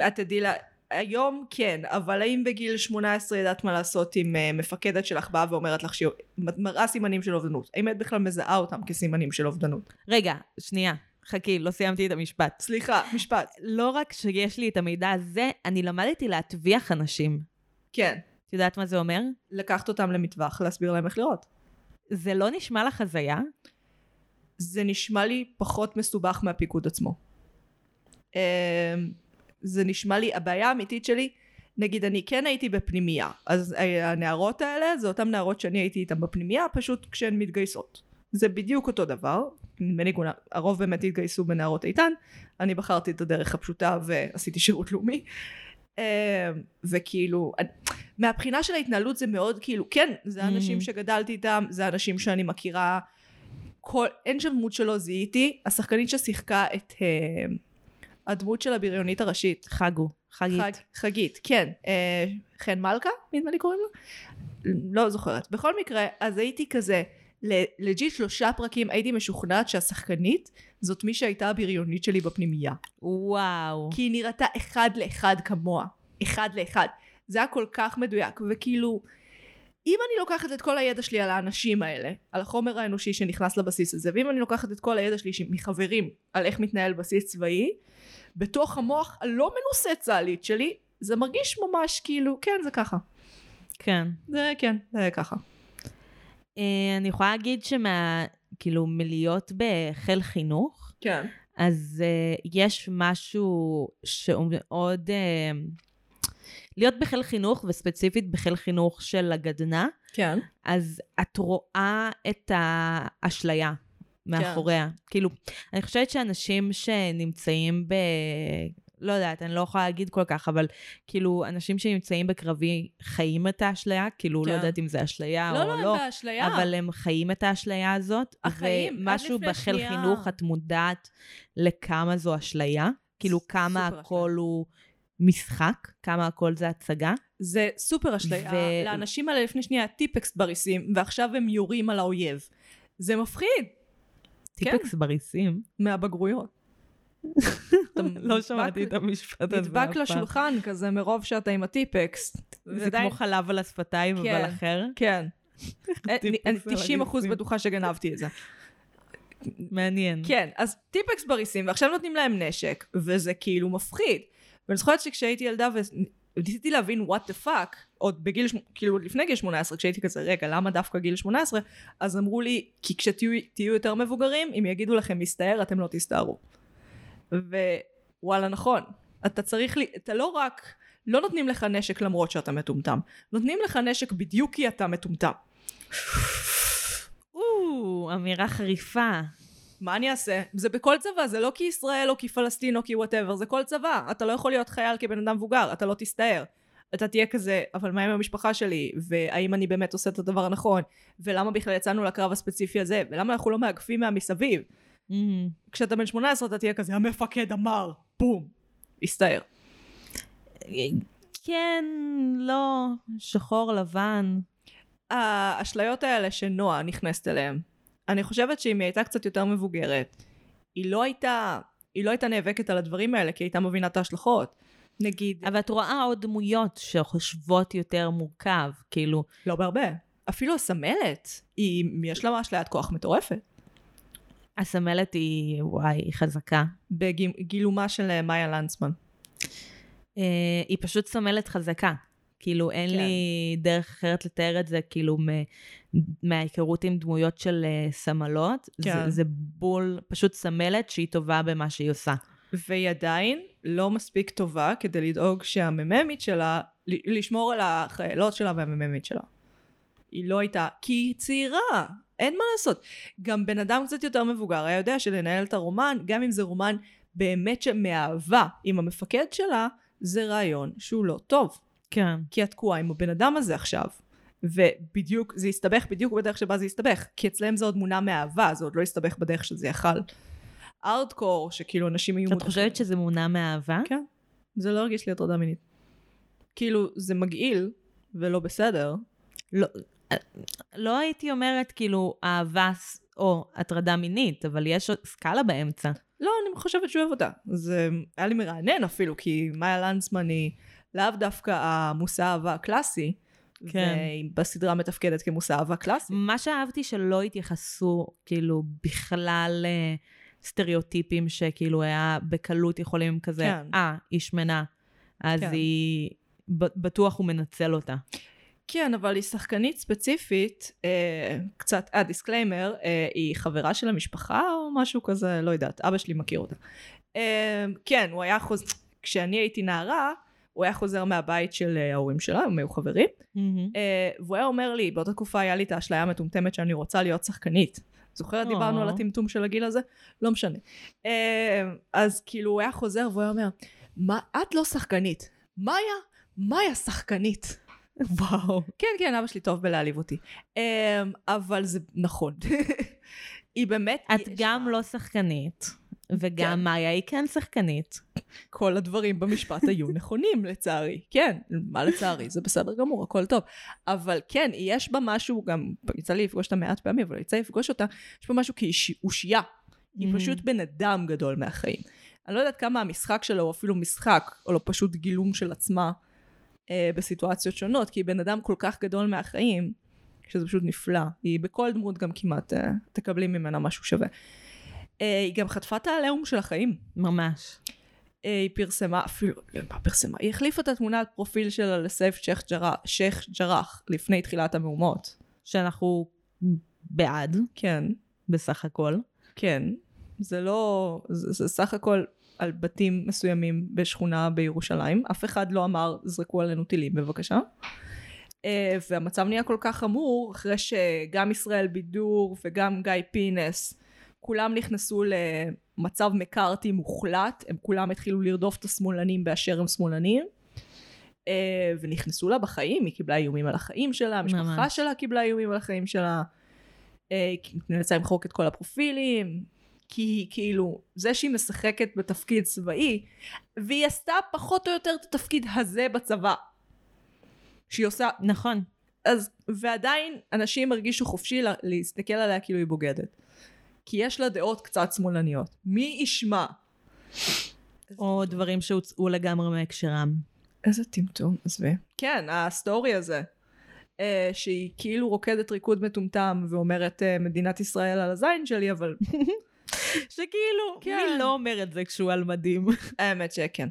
Speaker 1: את תדעי לה, היום כן, אבל האם בגיל 18 ידעת מה לעשות אם אה, מפקדת שלך באה ואומרת לך שהיא מראה סימנים של אובדנות? האם את בכלל מזהה אותם כסימנים של אובדנות?
Speaker 2: רגע, שנייה, חכי, לא סיימתי את המשפט.
Speaker 1: סליחה, משפט.
Speaker 2: לא רק שיש לי את המידע הזה, אני למדתי להטביח אנשים.
Speaker 1: כן.
Speaker 2: את יודעת מה זה אומר?
Speaker 1: לקחת אותם למטווח, להסביר להם איך לראות.
Speaker 2: זה לא נשמע לך הזיה?
Speaker 1: זה נשמע לי פחות מסובך מהפיקוד עצמו. אמ, זה נשמע לי, הבעיה האמיתית שלי, נגיד אני כן הייתי בפנימייה, אז הנערות האלה זה אותן נערות שאני הייתי איתן בפנימייה, פשוט כשהן מתגייסות. זה בדיוק אותו דבר, נדמה לי כולם- הרוב באמת התגייסו בנערות איתן, אני בחרתי את הדרך הפשוטה ועשיתי שירות לאומי. אמ, וכאילו, אני- מהבחינה של ההתנהלות זה מאוד כאילו, כן, זה
Speaker 2: Mhm.
Speaker 1: האנשים שגדלתי איתם, זה האנשים שאני מכירה, כל, אין שם דמות שלא זיהיתי, השחקנית ששיחקה את אה, הדמות של הבריונית הראשית,
Speaker 2: חגו, חגית.
Speaker 1: חג, חגית, כן, אה, חן מלכה, נדמה לי קוראים לה? לא זוכרת. בכל מקרה, אז הייתי כזה, ל- לג'יט שלושה פרקים הייתי משוכנעת שהשחקנית זאת מי שהייתה הבריונית שלי בפנימייה.
Speaker 2: וואו.
Speaker 1: כי היא נראתה אחד לאחד כמוה. אחד לאחד. זה היה כל כך מדויק, וכאילו, אם אני לוקחת את כל הידע שלי על האנשים האלה, על החומר האנושי שנכנס לבסיס הזה, ואם אני לוקחת את כל הידע שלי ש- מחברים על איך מתנהל בסיס צבאי, בתוך המוח הלא מנוסה צה"לית שלי, זה מרגיש ממש כאילו, כן, זה ככה.
Speaker 2: כן.
Speaker 1: זה כן, זה ככה.
Speaker 2: אה, אני יכולה להגיד שמה, כאילו, מלהיות בחיל חינוך,
Speaker 1: כן.
Speaker 2: אז uh, יש משהו שהוא מאוד... Uh, להיות בחיל חינוך, וספציפית בחיל חינוך של הגדנ"ע,
Speaker 1: כן.
Speaker 2: אז את רואה את האשליה מאחוריה. כן. כאילו, אני חושבת שאנשים שנמצאים ב... לא יודעת, אני לא יכולה להגיד כל כך, אבל כאילו, אנשים שנמצאים בקרבי חיים את האשליה, כאילו, כן. לא
Speaker 1: כן.
Speaker 2: יודעת אם זה אשליה
Speaker 1: לא,
Speaker 2: או
Speaker 1: לא,
Speaker 2: לא.
Speaker 1: אין בה אשליה.
Speaker 2: אבל הם חיים את האשליה הזאת.
Speaker 1: החיים, עד
Speaker 2: ומשהו
Speaker 1: לפני
Speaker 2: בחיל
Speaker 1: שנייה.
Speaker 2: חינוך, את מודעת לכמה זו אשליה, כאילו כמה
Speaker 1: סופר
Speaker 2: הכל הוא משחק, כמה הכל זה הצגה.
Speaker 1: זה סופר אשליה.
Speaker 2: ו-
Speaker 1: ו... לאנשים האלה לפני שנייה טיפקס בריסים, ועכשיו הם יורים על האויב. זה מפחיד. כן.
Speaker 2: טיפקס בריסים.
Speaker 1: מהבגרויות. אתה
Speaker 2: [LAUGHS] לא
Speaker 1: נדבק-
Speaker 2: שמעתי את המשפט הזה אף פעם.
Speaker 1: נדבק לשולחן כזה מרוב שאתה עם הטיפקס.
Speaker 2: זה כמו חלב על השפתיים, אבל
Speaker 1: כן.
Speaker 2: אחר.
Speaker 1: כן. אני
Speaker 2: [LAUGHS] הטיפקס
Speaker 1: אני
Speaker 2: על
Speaker 1: 90 אחוז
Speaker 2: הגיסים.
Speaker 1: בטוחה שגנבתי את זה.
Speaker 2: מעניין.
Speaker 1: כן, אז טיפקס בריסים, ועכשיו נותנים להם נשק, וזה כאילו מפחיד. ואני זוכרת שכשהייתי ילדה וניסיתי להבין what the fuck, עוד בגיל, שמ- כאילו עוד לפני גיל 18, כשהייתי כזה, רגע, למה דווקא גיל 18? אז אמרו לי, כי כשתהיו תהיו יותר מבוגרים, אם יגידו לכם להסתער, אתם לא תסתערו. ווואלה, נכון. אתה צריך, לי, אתה לא רק, לא נותנים לך נשק למרות שאתה מטומטם, נותנים לך נשק בדיוק כי אתה מטומטם.
Speaker 2: או, אמירה חריפה.
Speaker 1: מה אני אעשה? זה בכל צבא, זה לא כי ישראל או כי פלסטין או כי וואטאבר, זה כל צבא. אתה לא יכול להיות חייל כבן אדם מבוגר, אתה לא תסתער. אתה תהיה כזה, אבל מה עם המשפחה שלי? והאם אני באמת עושה את הדבר הנכון? ולמה בכלל יצאנו לקרב הספציפי הזה? ולמה אנחנו לא מאגפים מהמסביב?
Speaker 2: אמ,
Speaker 1: כשאתה בן 18 אתה תהיה כזה, המפקד אמר, בום, הסתער.
Speaker 2: כן, לא, שחור, לבן.
Speaker 1: האשליות האלה שנועה נכנסת אליהן, אני חושבת שאם היא הייתה קצת יותר מבוגרת, היא לא הייתה, היא לא הייתה נאבקת על הדברים האלה, כי היא הייתה מבינה את ההשלכות. נגיד,
Speaker 2: אבל את רואה עוד דמויות שחושבות יותר מורכב, כאילו,
Speaker 1: לא בהרבה. אפילו הסמלת, היא, יש לה ממש ליד כוח מטורפת.
Speaker 2: הסמלת היא, וואי, היא חזקה.
Speaker 1: בגילומה של אה, מאיה לנצמן.
Speaker 2: אה, היא פשוט סמלת חזקה. כאילו, אין
Speaker 1: כן.
Speaker 2: לי דרך אחרת לתאר את זה, כאילו, מ- מההיכרות עם דמויות של אה, סמלות.
Speaker 1: כן.
Speaker 2: זה, זה בול, פשוט סמלת שהיא טובה במה שהיא עושה.
Speaker 1: והיא עדיין לא מספיק טובה כדי לדאוג שהמממית שלה, ל- לשמור על החיילות שלה והמממית שלה. היא לא הייתה, כי היא צעירה, אין מה לעשות. גם בן אדם קצת יותר מבוגר היה יודע שלנהל את הרומן, גם אם זה רומן באמת שמאהבה עם המפקד שלה, זה רעיון שהוא לא טוב.
Speaker 2: כן.
Speaker 1: כי את תקועה עם הבן אדם הזה עכשיו. ובדיוק, זה הסתבך בדיוק בדרך שבה זה הסתבך. כי אצלם זה עוד מונע מאהבה, זה עוד לא הסתבך בדרך שזה יכל. ארדקור, שכאילו אנשים היו...
Speaker 2: את חושבת שזה מונע מאהבה?
Speaker 1: כן. זה לא הרגיש לי הטרדה מינית. כאילו, זה מגעיל, ולא בסדר.
Speaker 2: לא, לא הייתי אומרת, כאילו, אהבה ס- או הטרדה מינית, אבל יש עוד סקאלה באמצע.
Speaker 1: לא, אני חושבת שהוא אוהב אותה. זה היה לי מרענן אפילו, כי מאיה לנצמן היא לאו דווקא המושא אהבה הקלאסי.
Speaker 2: כן.
Speaker 1: והיא בסדרה מתפקדת כמושא אהבה קלאסי.
Speaker 2: מה שאהבתי שלא התייחסו כאילו בכלל אה, סטריאוטיפים שכאילו היה בקלות יכולים כזה,
Speaker 1: כן.
Speaker 2: אה, היא שמנה, אז
Speaker 1: כן.
Speaker 2: היא, ב- בטוח הוא מנצל אותה.
Speaker 1: כן, אבל היא שחקנית ספציפית, אה, קצת, אה, דיסקליימר, אה, היא חברה של המשפחה או משהו כזה, לא יודעת, אבא שלי מכיר אותה. אה, כן, הוא היה חוזר, כשאני הייתי נערה, הוא היה חוזר מהבית של אה, ההורים שלה, הם היו חברים,
Speaker 2: אוקיי.
Speaker 1: אה, והוא היה אומר לי, באותה תקופה היה לי את האשליה המטומטמת שאני רוצה להיות שחקנית. זוכרת
Speaker 2: אה.
Speaker 1: דיברנו על הטמטום של הגיל הזה? לא משנה. אה, אז כאילו הוא היה חוזר והוא היה אומר, מה, את לא שחקנית. מאיה, מאיה שחקנית.
Speaker 2: [LAUGHS] וואו.
Speaker 1: כן, כן, אבא שלי טוב בלהעליב אותי. אמ, אבל זה נכון. [LAUGHS] היא באמת...
Speaker 2: את
Speaker 1: יש
Speaker 2: גם
Speaker 1: לה-
Speaker 2: לא שחקנית, וגם
Speaker 1: כן.
Speaker 2: מאיה היא כן שחקנית.
Speaker 1: כל הדברים במשפט היו נכונים, לצערי. כן, מה לצערי? זה בסדר גמור, הכל טוב. אבל כן, יש בה משהו, גם יצא לי לפגוש אותה מעט פעמים, אבל יצא לי לפגוש אותה, יש בה משהו כאושייה. היא
Speaker 2: Mm.
Speaker 1: פשוט בן אדם גדול מהחיים. אני לא יודעת כמה המשחק שלה הוא אפילו משחק, או לא פשוט גילום של עצמה אה, בסיטואציות שונות, כי היא בן אדם כל כך גדול מהחיים, שזה פשוט נפלא. היא בכל דמות גם כמעט אה, תקבלי ממנה משהו שווה. אה, היא גם חטפה את העליהום של החיים.
Speaker 2: ממש.
Speaker 1: אה, היא פרסמה, אפילו, לא, מה פרסמה? היא החליפה את התמונת פרופיל שלה לסייף שייח' ג'רח, שייח' ג'רח לפני תחילת המהומות.
Speaker 2: שאנחנו בעד,
Speaker 1: כן,
Speaker 2: בסך הכל.
Speaker 1: כן. זה לא, זה, זה סך הכל על בתים מסוימים בשכונה בירושלים. אף אחד לא אמר, זרקו עלינו טילים בבקשה. אה, והמצב נהיה כל כך חמור, אחרי שגם ישראל בידור וגם גיא פינס, כולם נכנסו למצב מקארתי מוחלט, הם כולם התחילו לרדוף את השמאלנים באשר הם שמאלנים. אה, ונכנסו לה בחיים, היא קיבלה איומים על החיים שלה, המשפחה
Speaker 2: ממש.
Speaker 1: שלה קיבלה איומים על החיים שלה, אה, היא נאלצה למחוק את כל הפרופילים, כי היא כאילו, זה שהיא משחקת בתפקיד צבאי, והיא עשתה פחות או יותר את התפקיד הזה בצבא. שהיא עושה,
Speaker 2: נכון.
Speaker 1: אז, ועדיין אנשים הרגישו חופשי לה, להסתכל עליה כאילו היא בוגדת. כי יש לה דעות קצת שמאלניות. מי ישמע
Speaker 2: או דברים שהוצאו לגמרי מהקשרם.
Speaker 1: איזה טמטום, עזבי. כן, הסטורי הזה. אה, שהיא כאילו רוקדת ריקוד מטומטם ואומרת אה, מדינת ישראל על הזין שלי, אבל
Speaker 2: שכאילו,
Speaker 1: כן. נכון.
Speaker 2: מי לא אומר את זה כשהוא על מדים?
Speaker 1: האמת שכן.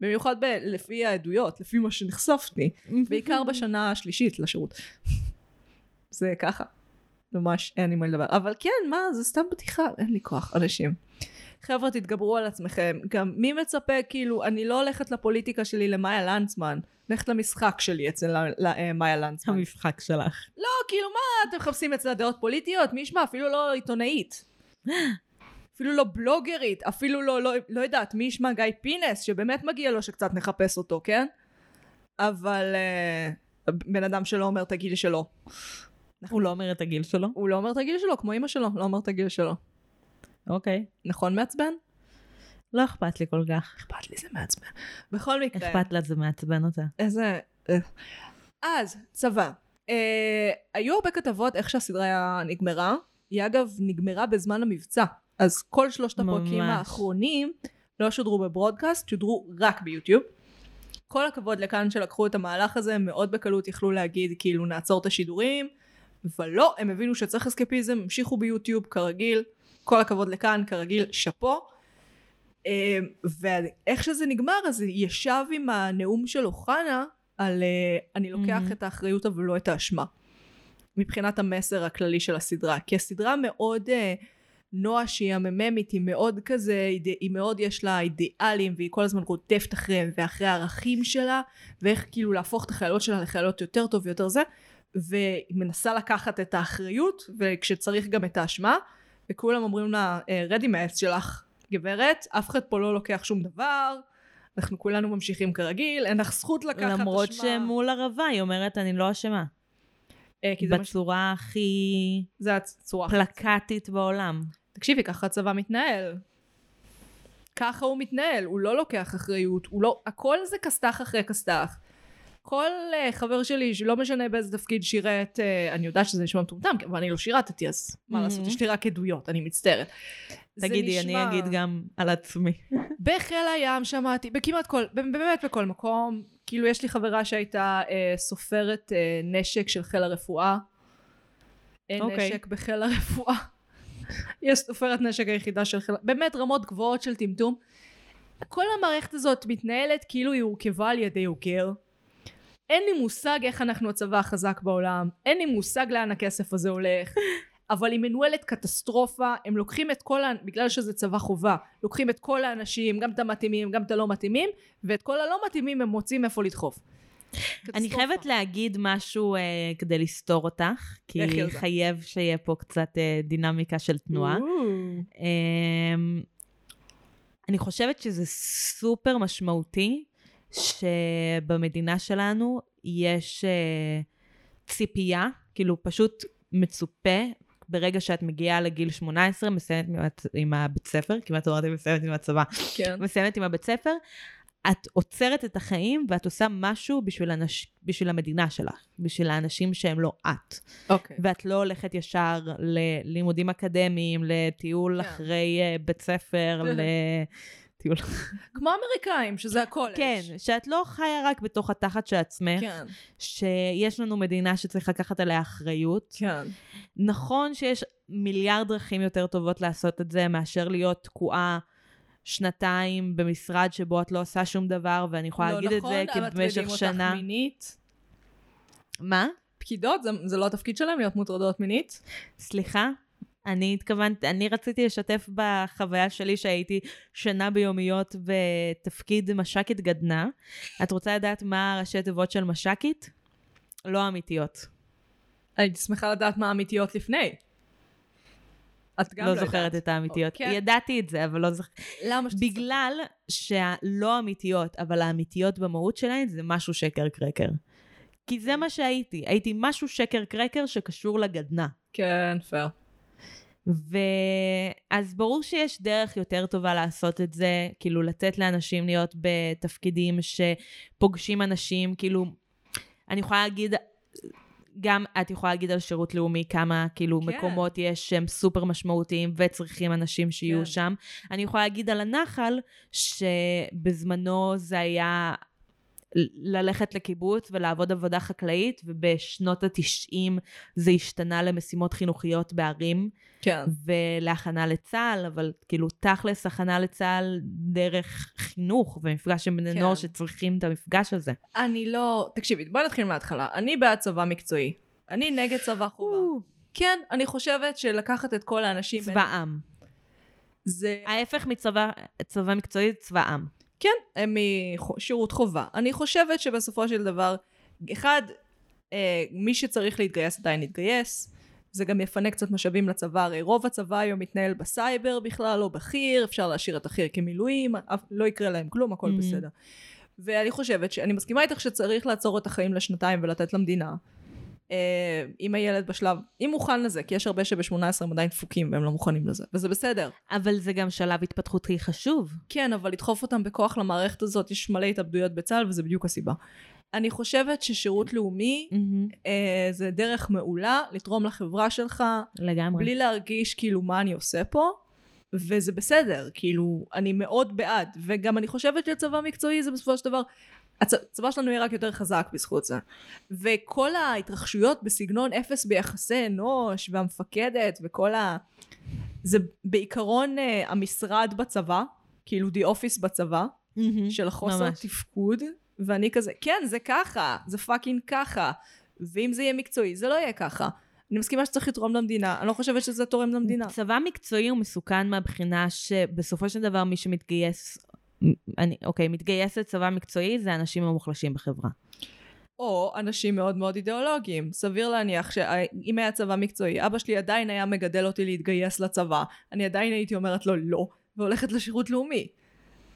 Speaker 1: במיוחד ב- לפי העדויות, לפי מה שנחשפתי, בעיקר בשנה השלישית לשירות. זה ככה. ממש אין לי מה לדבר. אבל כן, מה, זה סתם בדיחה, אין לי כוח, אנשים. חבר'ה, תתגברו על עצמכם. גם מי מצפה, כאילו, אני לא הולכת לפוליטיקה שלי למאיה לנצמן, הולכת למשחק שלי אצל ל- ל- אה, מאיה לנצמן.
Speaker 2: המשחק שלך.
Speaker 1: לא, כאילו, מה, אתם מחפשים אצלה דעות פוליטיות? מי ישמע, אפילו לא עיתונאית. אפילו לא בלוגרית, אפילו לא, לא, לא יודעת, מי ישמע גיא פינס, שבאמת מגיע לו שקצת נחפש אותו, כן? אבל uh, בן אדם שלא אומר את הגיל שלו. נכון.
Speaker 2: הוא לא אומר את הגיל שלו.
Speaker 1: הוא לא אומר את הגיל שלו, כמו אימא שלו, לא אומר את הגיל שלו.
Speaker 2: אוקיי.
Speaker 1: נכון מעצבן?
Speaker 2: לא אכפת לי כל כך.
Speaker 1: אכפת לי זה מעצבן. בכל מקרה.
Speaker 2: אכפת לה, זה מעצבן אותה.
Speaker 1: איזה... אה. אז, צבא. אה, היו הרבה כתבות איך שהסדרה נגמרה. היא אגב נגמרה בזמן המבצע. אז כל שלושת הפרקים
Speaker 2: ממש.
Speaker 1: האחרונים לא שודרו בברודקאסט, שודרו רק ביוטיוב. כל הכבוד לכאן שלקחו את המהלך הזה, הם מאוד בקלות יכלו להגיד כאילו נעצור את השידורים, אבל לא, הם הבינו שצריך אסקפיזם, המשיכו ביוטיוב כרגיל, כל הכבוד לכאן כרגיל, שאפו. אה, ואיך שזה נגמר אז ישב עם הנאום של אוחנה על אה, אני לוקח
Speaker 2: מהמם.
Speaker 1: את האחריות אבל לא את האשמה מבחינת המסר הכללי של הסדרה כי הסדרה מאוד אה, נועה שהיא המממית היא מאוד כזה היא, ד- היא מאוד יש לה אידיאלים והיא כל הזמן רודפת אחריהם ואחרי הערכים שלה ואיך כאילו להפוך את החיילות שלה לחיילות יותר טוב ויותר זה והיא מנסה לקחת את האחריות וכשצריך גם את האשמה וכולם אומרים לה "אה, רדי מהעץ שלך גברת אף אחד פה לא לוקח שום דבר אנחנו כולנו ממשיכים כרגיל אין לך זכות לקחת אשמה
Speaker 2: למרות שמול ערבה היא אומרת, אני לא אשמה.
Speaker 1: אה, כי זה, מש...
Speaker 2: בצורה הכי
Speaker 1: זה הצורה
Speaker 2: פלקטית בעולם.
Speaker 1: תקשיבי, ככה הצבא מתנהל. ככה הוא מתנהל, הוא לא לוקח אחריות, הוא לא... הכל זה כסת"ח אחרי כסת"ח. כל uh, חבר שלי, שלא משנה באיזה תפקיד שירת, uh, אני יודעת שזה נשמע מטומטם, אבל אני לא שירתתי, אז מה
Speaker 2: Mhm.
Speaker 1: לעשות, יש לי רק עדויות, אני מצטערת. זה
Speaker 2: תגידי, אני
Speaker 1: נשמע-
Speaker 2: אגיד גם על
Speaker 1: [LAUGHS]
Speaker 2: עצמי.
Speaker 1: בחיל הים שמעתי, בכמעט כל, באמת בכל מקום. כאילו יש לי חברה שהייתה אה, סופרת אה, נשק של חיל הרפואה. אין
Speaker 2: אוקיי.
Speaker 1: נשק בחיל הרפואה. [LAUGHS] היא הסופרת נשק היחידה של חיל... באמת רמות גבוהות של טמטום. כל המערכת הזאת מתנהלת כאילו היא הורכבה על ידי אוגר. אין לי מושג איך אנחנו הצבא החזק בעולם, אין לי מושג לאן הכסף הזה
Speaker 2: [LAUGHS]
Speaker 1: הולך, אבל היא מנוהלת קטסטרופה, הם לוקחים את כל, ה- בגלל שזה צבא חובה, לוקחים את כל האנשים, גם את המתאימים, גם את הלא מתאימים, ואת כל הלא מתאימים הם מוצאים איפה לדחוף.
Speaker 2: אני
Speaker 1: קטסטרופה.
Speaker 2: חייבת להגיד משהו אה, כדי לסתור אותך, כי
Speaker 1: לכי על זה.
Speaker 2: חייב שיהיה פה קצת אה, דינמיקה של תנועה.
Speaker 1: אוו.
Speaker 2: אמ, אני חושבת שזה סופר משמעותי שבמדינה שלנו יש אה, ציפייה, כאילו פשוט מצופה, ברגע שאת מגיעה לגיל 18, מסיימת עם הצ- עם הבית ספר, כמעט אמרתי מסיימת עם הצבא,
Speaker 1: כן.
Speaker 2: מסיימת עם הבית ספר, את עוצרת את החיים ואת עושה משהו בשביל, אנש, בשביל המדינה שלך, בשביל האנשים שהם לא את.
Speaker 1: אוקיי.
Speaker 2: ואת לא הולכת ישר ללימודים אקדמיים, לטיול
Speaker 1: כן.
Speaker 2: אחרי אה, בית
Speaker 1: [LAUGHS]
Speaker 2: ספר, לטיול...
Speaker 1: כמו האמריקאים, שזה הקולג'.
Speaker 2: כן, שאת לא חיה רק בתוך התחת של עצמך,
Speaker 1: כן.
Speaker 2: שיש לנו מדינה שצריך לקחת עליה אחריות.
Speaker 1: כן.
Speaker 2: נכון שיש מיליארד דרכים יותר טובות לעשות את זה מאשר להיות תקועה. שנתיים במשרד שבו את לא עושה שום דבר, ואני יכולה
Speaker 1: לא
Speaker 2: להגיד
Speaker 1: נכון,
Speaker 2: את זה כי
Speaker 1: אבל
Speaker 2: במשך
Speaker 1: מטרידים
Speaker 2: שנה...
Speaker 1: אותך מינית.
Speaker 2: מה?
Speaker 1: פקידות, זה, זה לא התפקיד שלהם להיות מוטרדות מינית.
Speaker 2: סליחה? אני התכוונתי, אני רציתי לשתף בחוויה שלי שהייתי שנה ביומיות בתפקיד מש"קית גדנ"ע. את רוצה לדעת מה ראשי תיבות של מש"קית? לא אמיתיות.
Speaker 1: הייתי שמחה לדעת מה האמיתיות לפני. את גם
Speaker 2: לא,
Speaker 1: לא,
Speaker 2: זוכרת
Speaker 1: יודעת.
Speaker 2: את האמיתיות.
Speaker 1: אוקיי.
Speaker 2: ידעתי את זה, אבל לא זוכרת.
Speaker 1: למה שאת-
Speaker 2: בגלל שהלא אמיתיות, אבל האמיתיות במהות שלהן זה משהו שקר קרקר. כי
Speaker 1: אוקיי.
Speaker 2: זה מה שהייתי, הייתי משהו שקר קרקר שקשור לגדנ"ע.
Speaker 1: כן, פייר.
Speaker 2: ואז ברור שיש דרך יותר טובה לעשות את זה, כאילו לתת לאנשים להיות בתפקידים שפוגשים אנשים, כאילו, אני יכולה להגיד, גם את יכולה להגיד על שירות לאומי כמה כאילו
Speaker 1: כן.
Speaker 2: כן. מקומות יש שהם סופר משמעותיים וצריכים אנשים שיהיו
Speaker 1: כן.
Speaker 2: כן. שם. אני יכולה להגיד על הנחל, שבזמנו זה היה ל- ללכת לקיבוץ ולעבוד עבודה חקלאית, ובשנות התשעים זה השתנה למשימות חינוכיות בערים
Speaker 1: כן.
Speaker 2: ולהכנה לצה"ל, אבל כאילו תכלס הכנה לצה"ל דרך חינוך ומפגש עם בני
Speaker 1: כן.
Speaker 2: כן. נוער שצריכים את המפגש הזה.
Speaker 1: אני לא... תקשיבי, בואי נתחיל מההתחלה. אני בעד צבא מקצועי. אני נגד צבא חובה. כן, אני חושבת שלקחת את כל האנשים...
Speaker 2: צבא עם.
Speaker 1: זה...
Speaker 2: ההפך מצבא צבא מקצועי זה צבא עם.
Speaker 1: כן, הם משירות חובה. אני חושבת שבסופו של דבר, אחד, אה, מי שצריך להתגייס עדיין יתגייס. זה גם יפנה קצת משאבים לצבא, הרי רוב הצבא היום מתנהל בסייבר בכלל, לא בחי"ר, אפשר להשאיר את החי"ר כמילואים, אף- לא יקרה להם כלום, הכל
Speaker 2: Mhm.
Speaker 1: בסדר. ואני חושבת, שאני מסכימה איתך שצריך לעצור את החיים לשנתיים ולתת למדינה. אה, אם הילד בשלב, אם מוכן לזה, כי יש הרבה שב-18 הם עדיין דפוקים והם לא מוכנים לזה, וזה בסדר.
Speaker 2: אבל זה גם שלב התפתחותי חשוב.
Speaker 1: כן, אבל לדחוף אותם בכוח למערכת הזאת, יש מלא התאבדויות בצה"ל, וזה בדיוק הסיבה. אני חושבת ששירות לאומי
Speaker 2: Mm.
Speaker 1: אה, זה דרך מעולה לתרום לחברה שלך,
Speaker 2: לגמרי.
Speaker 1: בלי להרגיש כאילו מה אני עושה פה, וזה בסדר, כאילו, אני מאוד בעד, וגם אני חושבת שצבא מקצועי זה בסופו של דבר, הצ- הצבא שלנו יהיה רק יותר חזק בזכות זה. וכל ההתרחשויות בסגנון אפס ביחסי אנוש, והמפקדת, וכל ה... זה בעיקרון אה, המשרד בצבא, כאילו די אופיס בצבא,
Speaker 2: מהמם.
Speaker 1: של החוסר
Speaker 2: Mm-hmm. ממש.
Speaker 1: תפקוד, ואני כזה, כן, זה ככה, זה פאקינג ככה, ואם זה יהיה מקצועי, זה לא יהיה ככה. אני מסכימה שצריך לתרום למדינה, אני לא חושבת שזה תורם למדינה.
Speaker 2: צבא מקצועי הוא מסוכן מהבחינה שבסופו של דבר מי שמתגייס, אני, אוקיי, מתגייס לצבא מקצועי זה האנשים המוחלשים בחברה.
Speaker 1: או אנשים מאוד מאוד אידיאולוגיים. סביר להניח שאם היה צבא מקצועי, אבא שלי עדיין היה מגדל אותי להתגייס לצבא, אני עדיין הייתי אומרת לו לא, והולכת לשירות לאומי.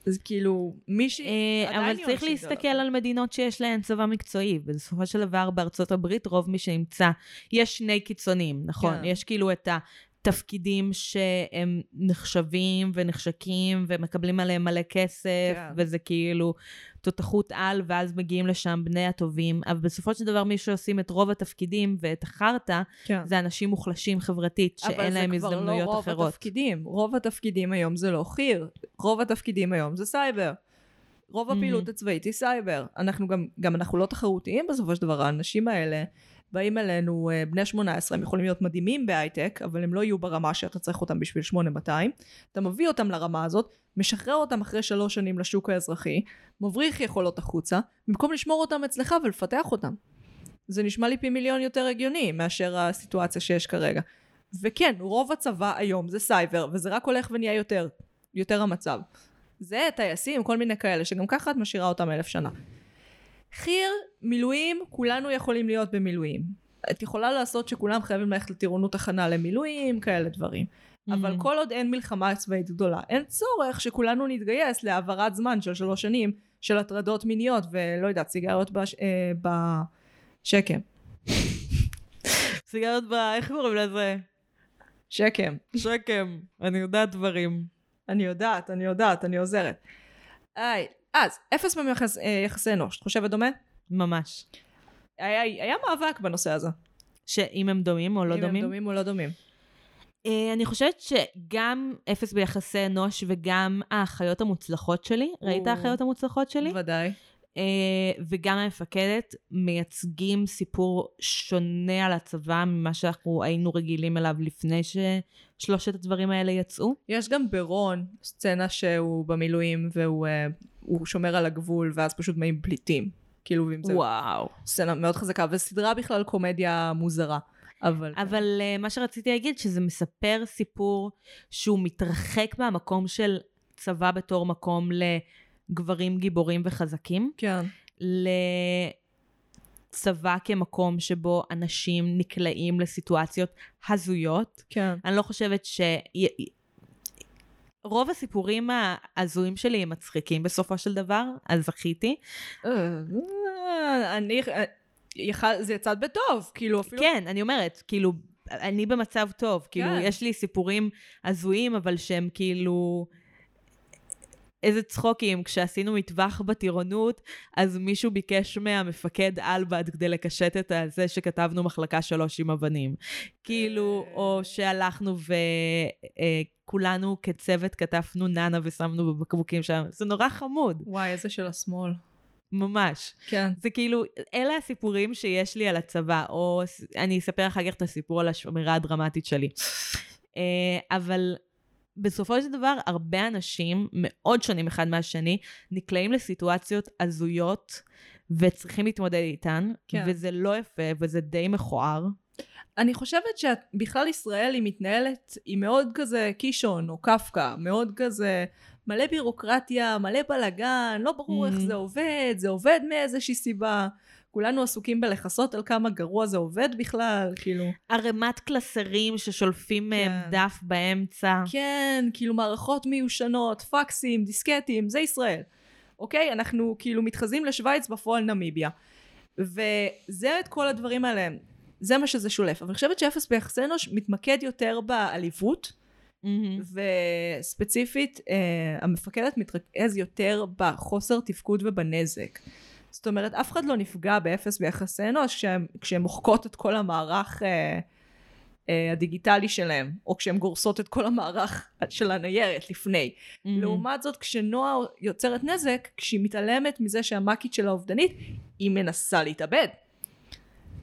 Speaker 1: אז כאילו, מישהי
Speaker 2: אה,
Speaker 1: עדיין
Speaker 2: אבל
Speaker 1: יהיו
Speaker 2: צריך
Speaker 1: אנשים
Speaker 2: להסתכל
Speaker 1: אידיאולוגיים.
Speaker 2: על מדינות שיש להן צבא מקצועי. בסופו של דבר בארצות הברית רוב מי שנמצא, יש שני קיצונים, נכון?
Speaker 1: כן.
Speaker 2: יש כאילו את התפקידים שהם נחשבים ונחשקים ומקבלים עליהם מלא כסף,
Speaker 1: כן.
Speaker 2: וזה כאילו תותחות על, ואז מגיעים לשם בני הטובים. אבל בסופו של דבר מי שעושים את רוב התפקידים ואת החרטא,
Speaker 1: כן.
Speaker 2: זה אנשים מוחלשים חברתית, שאין להם
Speaker 1: אבל זה
Speaker 2: הזדמנויות
Speaker 1: כבר לא רוב
Speaker 2: אחרות.
Speaker 1: התפקידים. רוב התפקידים היום זה לא חי"ר. רוב התפקידים היום זה סייבר. רוב
Speaker 2: Mhm.
Speaker 1: הפעילות הצבאית היא סייבר. אנחנו גם, גם אנחנו לא תחרותיים בסופו של דבר, האנשים האלה באים אלינו, אה, בני 18, הם יכולים להיות מדהימים בהייטק, אבל הם לא יהיו ברמה שאתה צריך אותם בשביל 8200. אתה מביא אותם לרמה הזאת, משחרר אותם אחרי שלוש שנים לשוק האזרחי, מבריח יכולות החוצה, במקום לשמור אותם אצלך ולפתח אותם. זה נשמע לי פי מיליון יותר הגיוני מאשר הסיטואציה שיש כרגע. וכן, רוב הצבא היום זה סייבר, וזה רק הולך ונהיה יותר, יותר המצב. זה טייסים, כל מיני כאלה, שגם ככה את משאירה אותם אלף שנה. חי"ר, מילואים, כולנו יכולים להיות במילואים. את יכולה לעשות שכולם חייבים ללכת לטירונות הכנה למילואים, כאלה דברים. אבל
Speaker 2: Mhm.
Speaker 1: כל עוד אין מלחמה צבאית גדולה, אין צורך שכולנו נתגייס להעברת זמן של שלוש שנים של הטרדות מיניות ולא יודעת, סיגריות בש... אה, בשקם.
Speaker 2: סיגרת ב... איך קוראים לזה?
Speaker 1: שקם.
Speaker 2: שקם. אני יודעת דברים.
Speaker 1: אני יודעת, אני יודעת, אני עוזרת. היי, אז, אפס ביחס, אה, יחסי אנוש, את חושבת דומה?
Speaker 2: ממש.
Speaker 1: היה, היה מאבק בנושא הזה.
Speaker 2: שאם הם דומים או לא
Speaker 1: אם הם
Speaker 2: דומים?
Speaker 1: דומים או לא דומים.
Speaker 2: אה, אני חושבת שגם אפס ביחסי אנוש וגם האחיות המוצלחות שלי, ראית
Speaker 1: או.
Speaker 2: האחיות המוצלחות שלי?
Speaker 1: בוודאי.
Speaker 2: אה, וגם המפקדת מייצגים סיפור שונה על הצבא ממה שאנחנו היינו רגילים אליו לפני ששלושת הדברים האלה יצאו.
Speaker 1: יש גם ברון סצנה שהוא במילואים והוא אה, הוא שומר על הגבול ואז פשוט מאים פליטים. כאילו, ואם זה
Speaker 2: וואו.
Speaker 1: סצנה מאוד חזקה, וסדרה בכלל קומדיה מוזרה. אבל...
Speaker 2: אבל אה, מה שרציתי להגיד, שזה מספר סיפור שהוא מתרחק מהמקום של צבא בתור מקום לגברים גיבורים וחזקים,
Speaker 1: כן.
Speaker 2: לצבא כמקום שבו אנשים נקלעים לסיטואציות הזויות.
Speaker 1: כן.
Speaker 2: אני לא חושבת ש... רוב הסיפורים ההזויים שלי הם מצחיקים בסופו של דבר, אז זכיתי.
Speaker 1: אה, אני... אה, יכל- זה יצא בטוב, כאילו אפילו...
Speaker 2: כן, אני אומרת, כאילו, אני במצב טוב. כאילו,
Speaker 1: כן.
Speaker 2: יש לי סיפורים הזויים, אבל שהם כאילו... איזה צחוקים, כשעשינו מטווח בטירונות, אז מישהו ביקש מהמפקד אלבד כדי לקשט את זה שכתבנו מחלקה שלוש עם אבנים. כאילו,
Speaker 1: אה.
Speaker 2: או שהלכנו וכולנו כצוות כתבנו נאנה ושמנו בבקבוקים שם, זה נורא חמוד,
Speaker 1: וואי, איזה של השמאל.
Speaker 2: ממש.
Speaker 1: כן.
Speaker 2: זה כאילו, אלה הסיפורים שיש לי על הצבא, או ס- אני אספר אחר כך את הסיפור על השמירה הדרמטית שלי. אה, אבל בסופו של דבר, הרבה אנשים מאוד שונים אחד מהשני, נקלעים לסיטואציות הזויות, וצריכים להתמודד איתן,
Speaker 1: כן.
Speaker 2: וזה לא יפה, וזה די מכוער.
Speaker 1: אני חושבת שבכלל ישראל היא מתנהלת, היא מאוד כזה קישון או קפקא, מאוד כזה מלא בירוקרטיה, מלא בלאגן, לא ברור איך
Speaker 2: Mhm.
Speaker 1: זה עובד, זה עובד מאיזושהי סיבה. כולנו עסוקים בלכסות על כמה גרוע זה עובד בכלל, כאילו.
Speaker 2: ערימת קלסרים ששולפים מהם
Speaker 1: כן.
Speaker 2: דף באמצע.
Speaker 1: כן, כאילו מערכות מיושנות, פקסים, דיסקטים, זה ישראל. אוקיי? אנחנו כאילו מתחזים לשוויץ, בפועל נמיביה. וזה את כל הדברים האלה. זה מה שזה שולף. אבל אני חושבת שאפס ביחסי אנוש מתמקד יותר בעליבות,
Speaker 2: מהמם.
Speaker 1: וספציפית, אה, המפקדת מתרכז יותר בחוסר תפקוד ובנזק. זאת אומרת, אף אחד לא נפגע באפס ביחסי אנוש כשהם, כשהם מוחקות את כל המערך אה, אה, הדיגיטלי שלהם, או כשהם גורסות את כל המערך של הניירת לפני.
Speaker 2: מהמם.
Speaker 1: לעומת זאת, כשנועה יוצרת נזק, כשהיא מתעלמת מזה שהמאקית שלה אובדנית, היא מנסה להתאבד.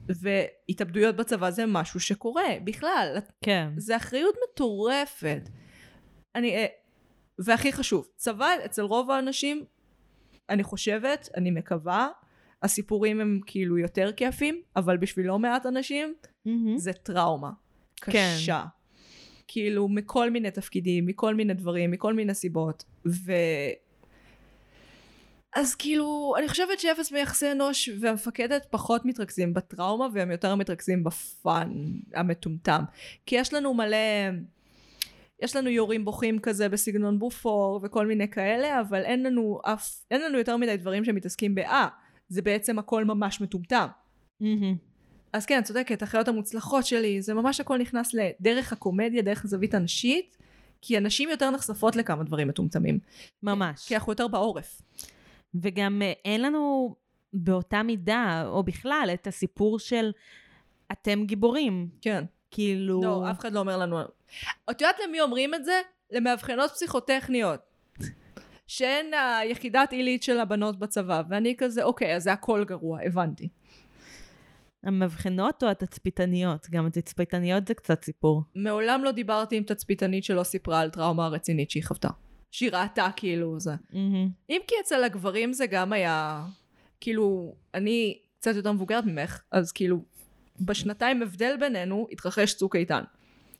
Speaker 1: והתאבדויות בצבא זה משהו שקורה בכלל.
Speaker 2: כן.
Speaker 1: זה אחריות מטורפת. אני... אה, והכי חשוב, צבא אצל רוב האנשים, אני חושבת, אני מקווה, הסיפורים הם כאילו יותר כיפים, אבל בשביל לא מעט אנשים,
Speaker 2: מהמם.
Speaker 1: זה טראומה.
Speaker 2: Mm-hmm. כן.
Speaker 1: קשה. כאילו, מכל מיני תפקידים, מכל מיני דברים, מכל מיני סיבות. ו... אז כאילו, אני חושבת שאפס מיחסי אנוש והמפקדת פחות מתרכזים בטראומה, והם יותר מתרכזים בפאן המטומטם. כי יש לנו מלא... יש לנו יורים בוכים כזה בסגנון בופור וכל מיני כאלה, אבל אין לנו אף... אין לנו יותר מדי דברים שמתעסקים ב"אה". זה בעצם הכל ממש מטומטם.
Speaker 2: מהמם.
Speaker 1: אז כן, את צודקת, החיות המוצלחות שלי, זה ממש הכל נכנס לדרך הקומדיה, דרך הזווית הנשית, כי הנשים יותר נחשפות לכמה דברים מטומטמים.
Speaker 2: ממש.
Speaker 1: כי אנחנו יותר בעורף.
Speaker 2: וגם אה, אין לנו באותה מידה, או בכלל, את הסיפור של אתם גיבורים.
Speaker 1: כן.
Speaker 2: כאילו...
Speaker 1: לא, אף אחד לא אומר לנו... את יודעת למי אומרים את זה? למאבחנות פסיכוטכניות. שהן היחידת עילית של הבנות בצבא, ואני כזה, אוקיי, אז זה הכל גרוע, הבנתי.
Speaker 2: המבחנות או התצפיתניות? גם התצפיתניות זה קצת סיפור.
Speaker 1: מעולם לא דיברתי עם תצפיתנית שלא סיפרה על טראומה הרצינית שהיא חוותה. שהיא ראתה כאילו זה.
Speaker 2: מהמם.
Speaker 1: אם כי אצל הגברים זה גם היה, כאילו, אני קצת יותר מבוגרת ממך, אז כאילו, בשנתיים הבדל בינינו התרחש צוק איתן.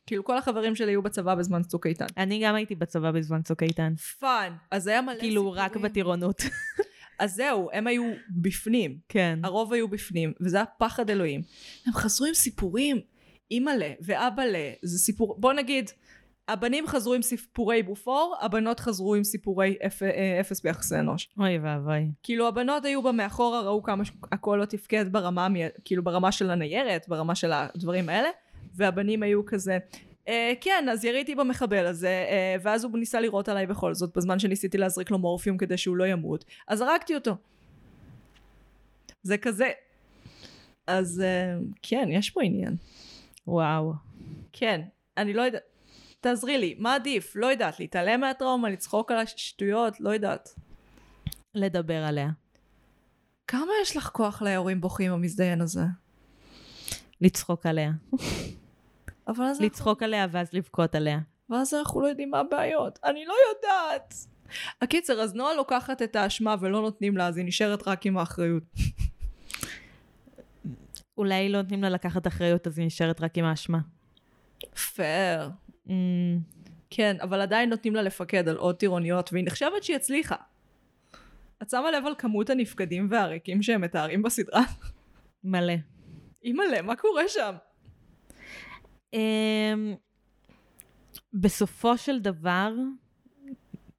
Speaker 1: כאילו, כל החברים שלי היו בצבא בזמן צוק איתן.
Speaker 2: אני גם הייתי בצבא בזמן צוק איתן.
Speaker 1: פאן. אז היה מלא
Speaker 2: כאילו,
Speaker 1: לא סיפורים.
Speaker 2: רק בטירונות. [LAUGHS]
Speaker 1: אז זהו, הם היו בפנים.
Speaker 2: כן.
Speaker 1: הרוב היו בפנים, וזה היה פחד אלוהים. הם חזרו עם סיפורים. אימא'לה ואבא'לה, זה סיפור... בוא נגיד, הבנים חזרו עם סיפורי בופור, הבנות חזרו עם סיפורי אפ... אה, אפס ביחסי אנוש.
Speaker 2: אוי ואבוי.
Speaker 1: כאילו הבנות היו בה מאחורה, ראו כמה שהכל לא תפקד ברמה, המי- כאילו ברמה של הניירת, ברמה של הדברים האלה, והבנים היו כזה, אה, כן, אז יריתי במחבל הזה, אה, ואז הוא ניסה לירות עליי בכל זאת, בזמן שניסיתי להזריק לו מורפיום כדי שהוא לא ימות, אז הרגתי אותו. זה כזה. אז אה, כן, יש פה עניין.
Speaker 2: וואו.
Speaker 1: כן, אני לא יודעת. תעזרי לי, מה עדיף? לא יודעת, להתעלם מהטראומה, לצחוק על השטויות, לא יודעת.
Speaker 2: לדבר עליה.
Speaker 1: כמה יש לך כוח ליורים בוכים המזדיין הזה?
Speaker 2: לצחוק עליה.
Speaker 1: נכון. אבל אז, לצ...
Speaker 2: לצחוק עליה ואז לבכות עליה.
Speaker 1: אנחנו, ואז אנחנו לא יודעים מה הבעיות. אני לא יודעת. הקיצר, אז נועה לוקחת את האשמה ולא נותנים לה, אז היא נשארת רק עם האחריות.
Speaker 2: אולי לא נותנים לה לקחת אחריות, אז היא נשארת רק עם האשמה.
Speaker 1: פייר.
Speaker 2: אמ,
Speaker 1: כן, אבל עדיין נותנים לה לפקד על עוד טירוניות, והיא נחשבת שהיא הצליחה. את שמה לב על כמות הנפקדים והריקים שהם מתארים בסדרה? [LAUGHS]
Speaker 2: מלא.
Speaker 1: אימא'לה, מה קורה שם?
Speaker 2: אמ, בסופו של דבר,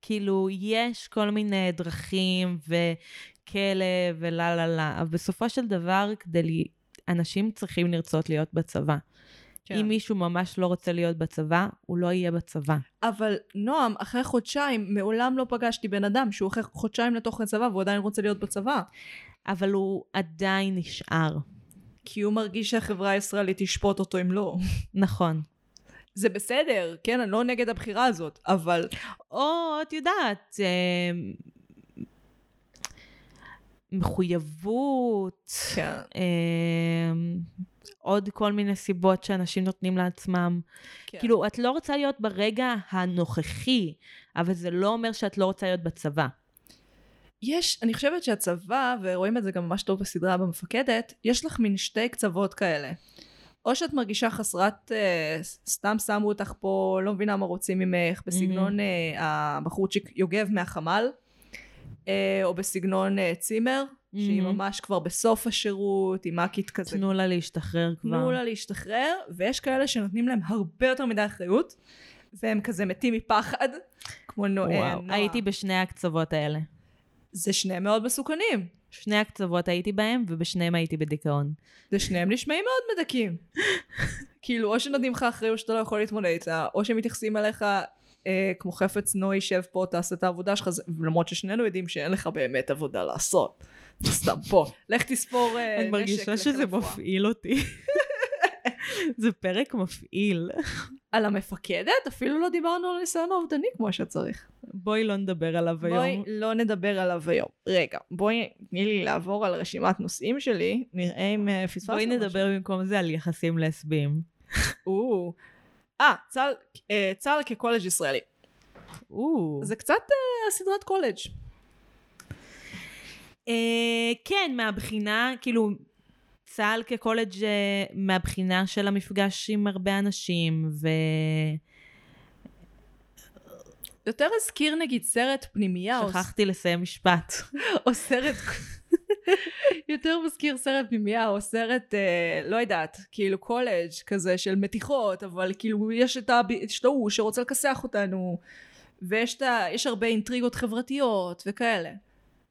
Speaker 2: כאילו, יש כל מיני דרכים וכלא ולה לה לה, אבל בסופו של דבר, כדי לי, אנשים צריכים לרצות להיות בצבא.
Speaker 1: כן.
Speaker 2: אם מישהו ממש לא רוצה להיות בצבא, הוא לא יהיה בצבא.
Speaker 1: אבל נועם, אחרי חודשיים, מעולם לא פגשתי בן אדם שהוא אחרי חודשיים לתוך הצבא והוא עדיין רוצה להיות בצבא.
Speaker 2: אבל הוא עדיין נשאר.
Speaker 1: כי הוא מרגיש שהחברה הישראלית תשפוט אותו אם לא.
Speaker 2: נכון.
Speaker 1: זה בסדר, כן, אני לא נגד הבחירה הזאת, אבל
Speaker 2: או, את יודעת, אמ, מחויבות,
Speaker 1: כן.
Speaker 2: אמ, עוד כל מיני סיבות שאנשים נותנים לעצמם.
Speaker 1: כן.
Speaker 2: כאילו, את לא רוצה להיות ברגע הנוכחי, אבל זה לא אומר שאת לא רוצה להיות בצבא.
Speaker 1: יש, אני חושבת שהצבא, ורואים את זה גם ממש טוב בסדרה במפקדת, יש לך מין שתי קצוות כאלה. או שאת מרגישה חסרת, אה, ס- סתם שמו אותך פה, לא מבינה מה רוצים ממך, בסגנון אה, הבחורצ'יק יוגב מהחמ"ל, אה, או בסגנון אה, צימר, שהיא
Speaker 2: מהמם.
Speaker 1: ממש כבר בסוף השירות, עם מאקית כזה.
Speaker 2: תנו לה להשתחרר כבר.
Speaker 1: תנו לה להשתחרר, ויש כאלה שנותנים להם הרבה יותר מדי אחריות, והם כזה מתים מפחד, כמו לא, אה, נועה.
Speaker 2: וואו. הייתי בשני הקצוות האלה.
Speaker 1: זה שניהם מאוד מסוכנים.
Speaker 2: שני הקצוות הייתי בהם, ובשניהם הייתי בדיכאון.
Speaker 1: ושניהם נשמעים מאוד
Speaker 2: [LAUGHS]
Speaker 1: מדכאים. כאילו, או שנותנים לך אחריות שאתה לא יכול להתמודד איתה, או שמתייחסים אליך אה, כמו חפץ נוי, שב פה, תעשה את העבודה שלך, זה- למרות ששנינו יודעים שאין לך באמת עבודה לעשות. אתה סתם פה. לך תספור אה, נשק.
Speaker 2: אני מרגישה
Speaker 1: לך
Speaker 2: שזה
Speaker 1: לרפואה.
Speaker 2: מפעיל אותי. [LAUGHS] זה פרק מפעיל.
Speaker 1: על המפקדת? אפילו לא דיברנו על ניסיון האובדני כמו שצריך.
Speaker 2: בואי לא נדבר עליו
Speaker 1: בואי
Speaker 2: היום.
Speaker 1: לא נדבר עליו היום. רגע, בואי תני לי לעבור על רשימת נושאים שלי, נראה אם אה, פספסנו
Speaker 2: בואי
Speaker 1: משהו.
Speaker 2: נדבר במקום זה על יחסים לסביים.
Speaker 1: או. אה, צה"ל- אה, צה"ל כקולג' ישראלי.
Speaker 2: או.
Speaker 1: זה קצת אה, סדרת קולג'.
Speaker 2: אה, כן, מהבחינה, כאילו, צה"ל כקולג' אה, מהבחינה של המפגש עם הרבה אנשים, ו...
Speaker 1: יותר הזכיר נגיד סרט פנימייה, או,
Speaker 2: שכחתי לסיים משפט.
Speaker 1: או סרט... [LAUGHS] יותר מזכיר סרט פנימייה, או סרט, אה, לא יודעת, כאילו קולג' כזה של מתיחות, אבל כאילו יש את הב- יש את ההוא שרוצה לכסח אותנו, ויש את ה... יש הרבה אינטריגות חברתיות וכאלה,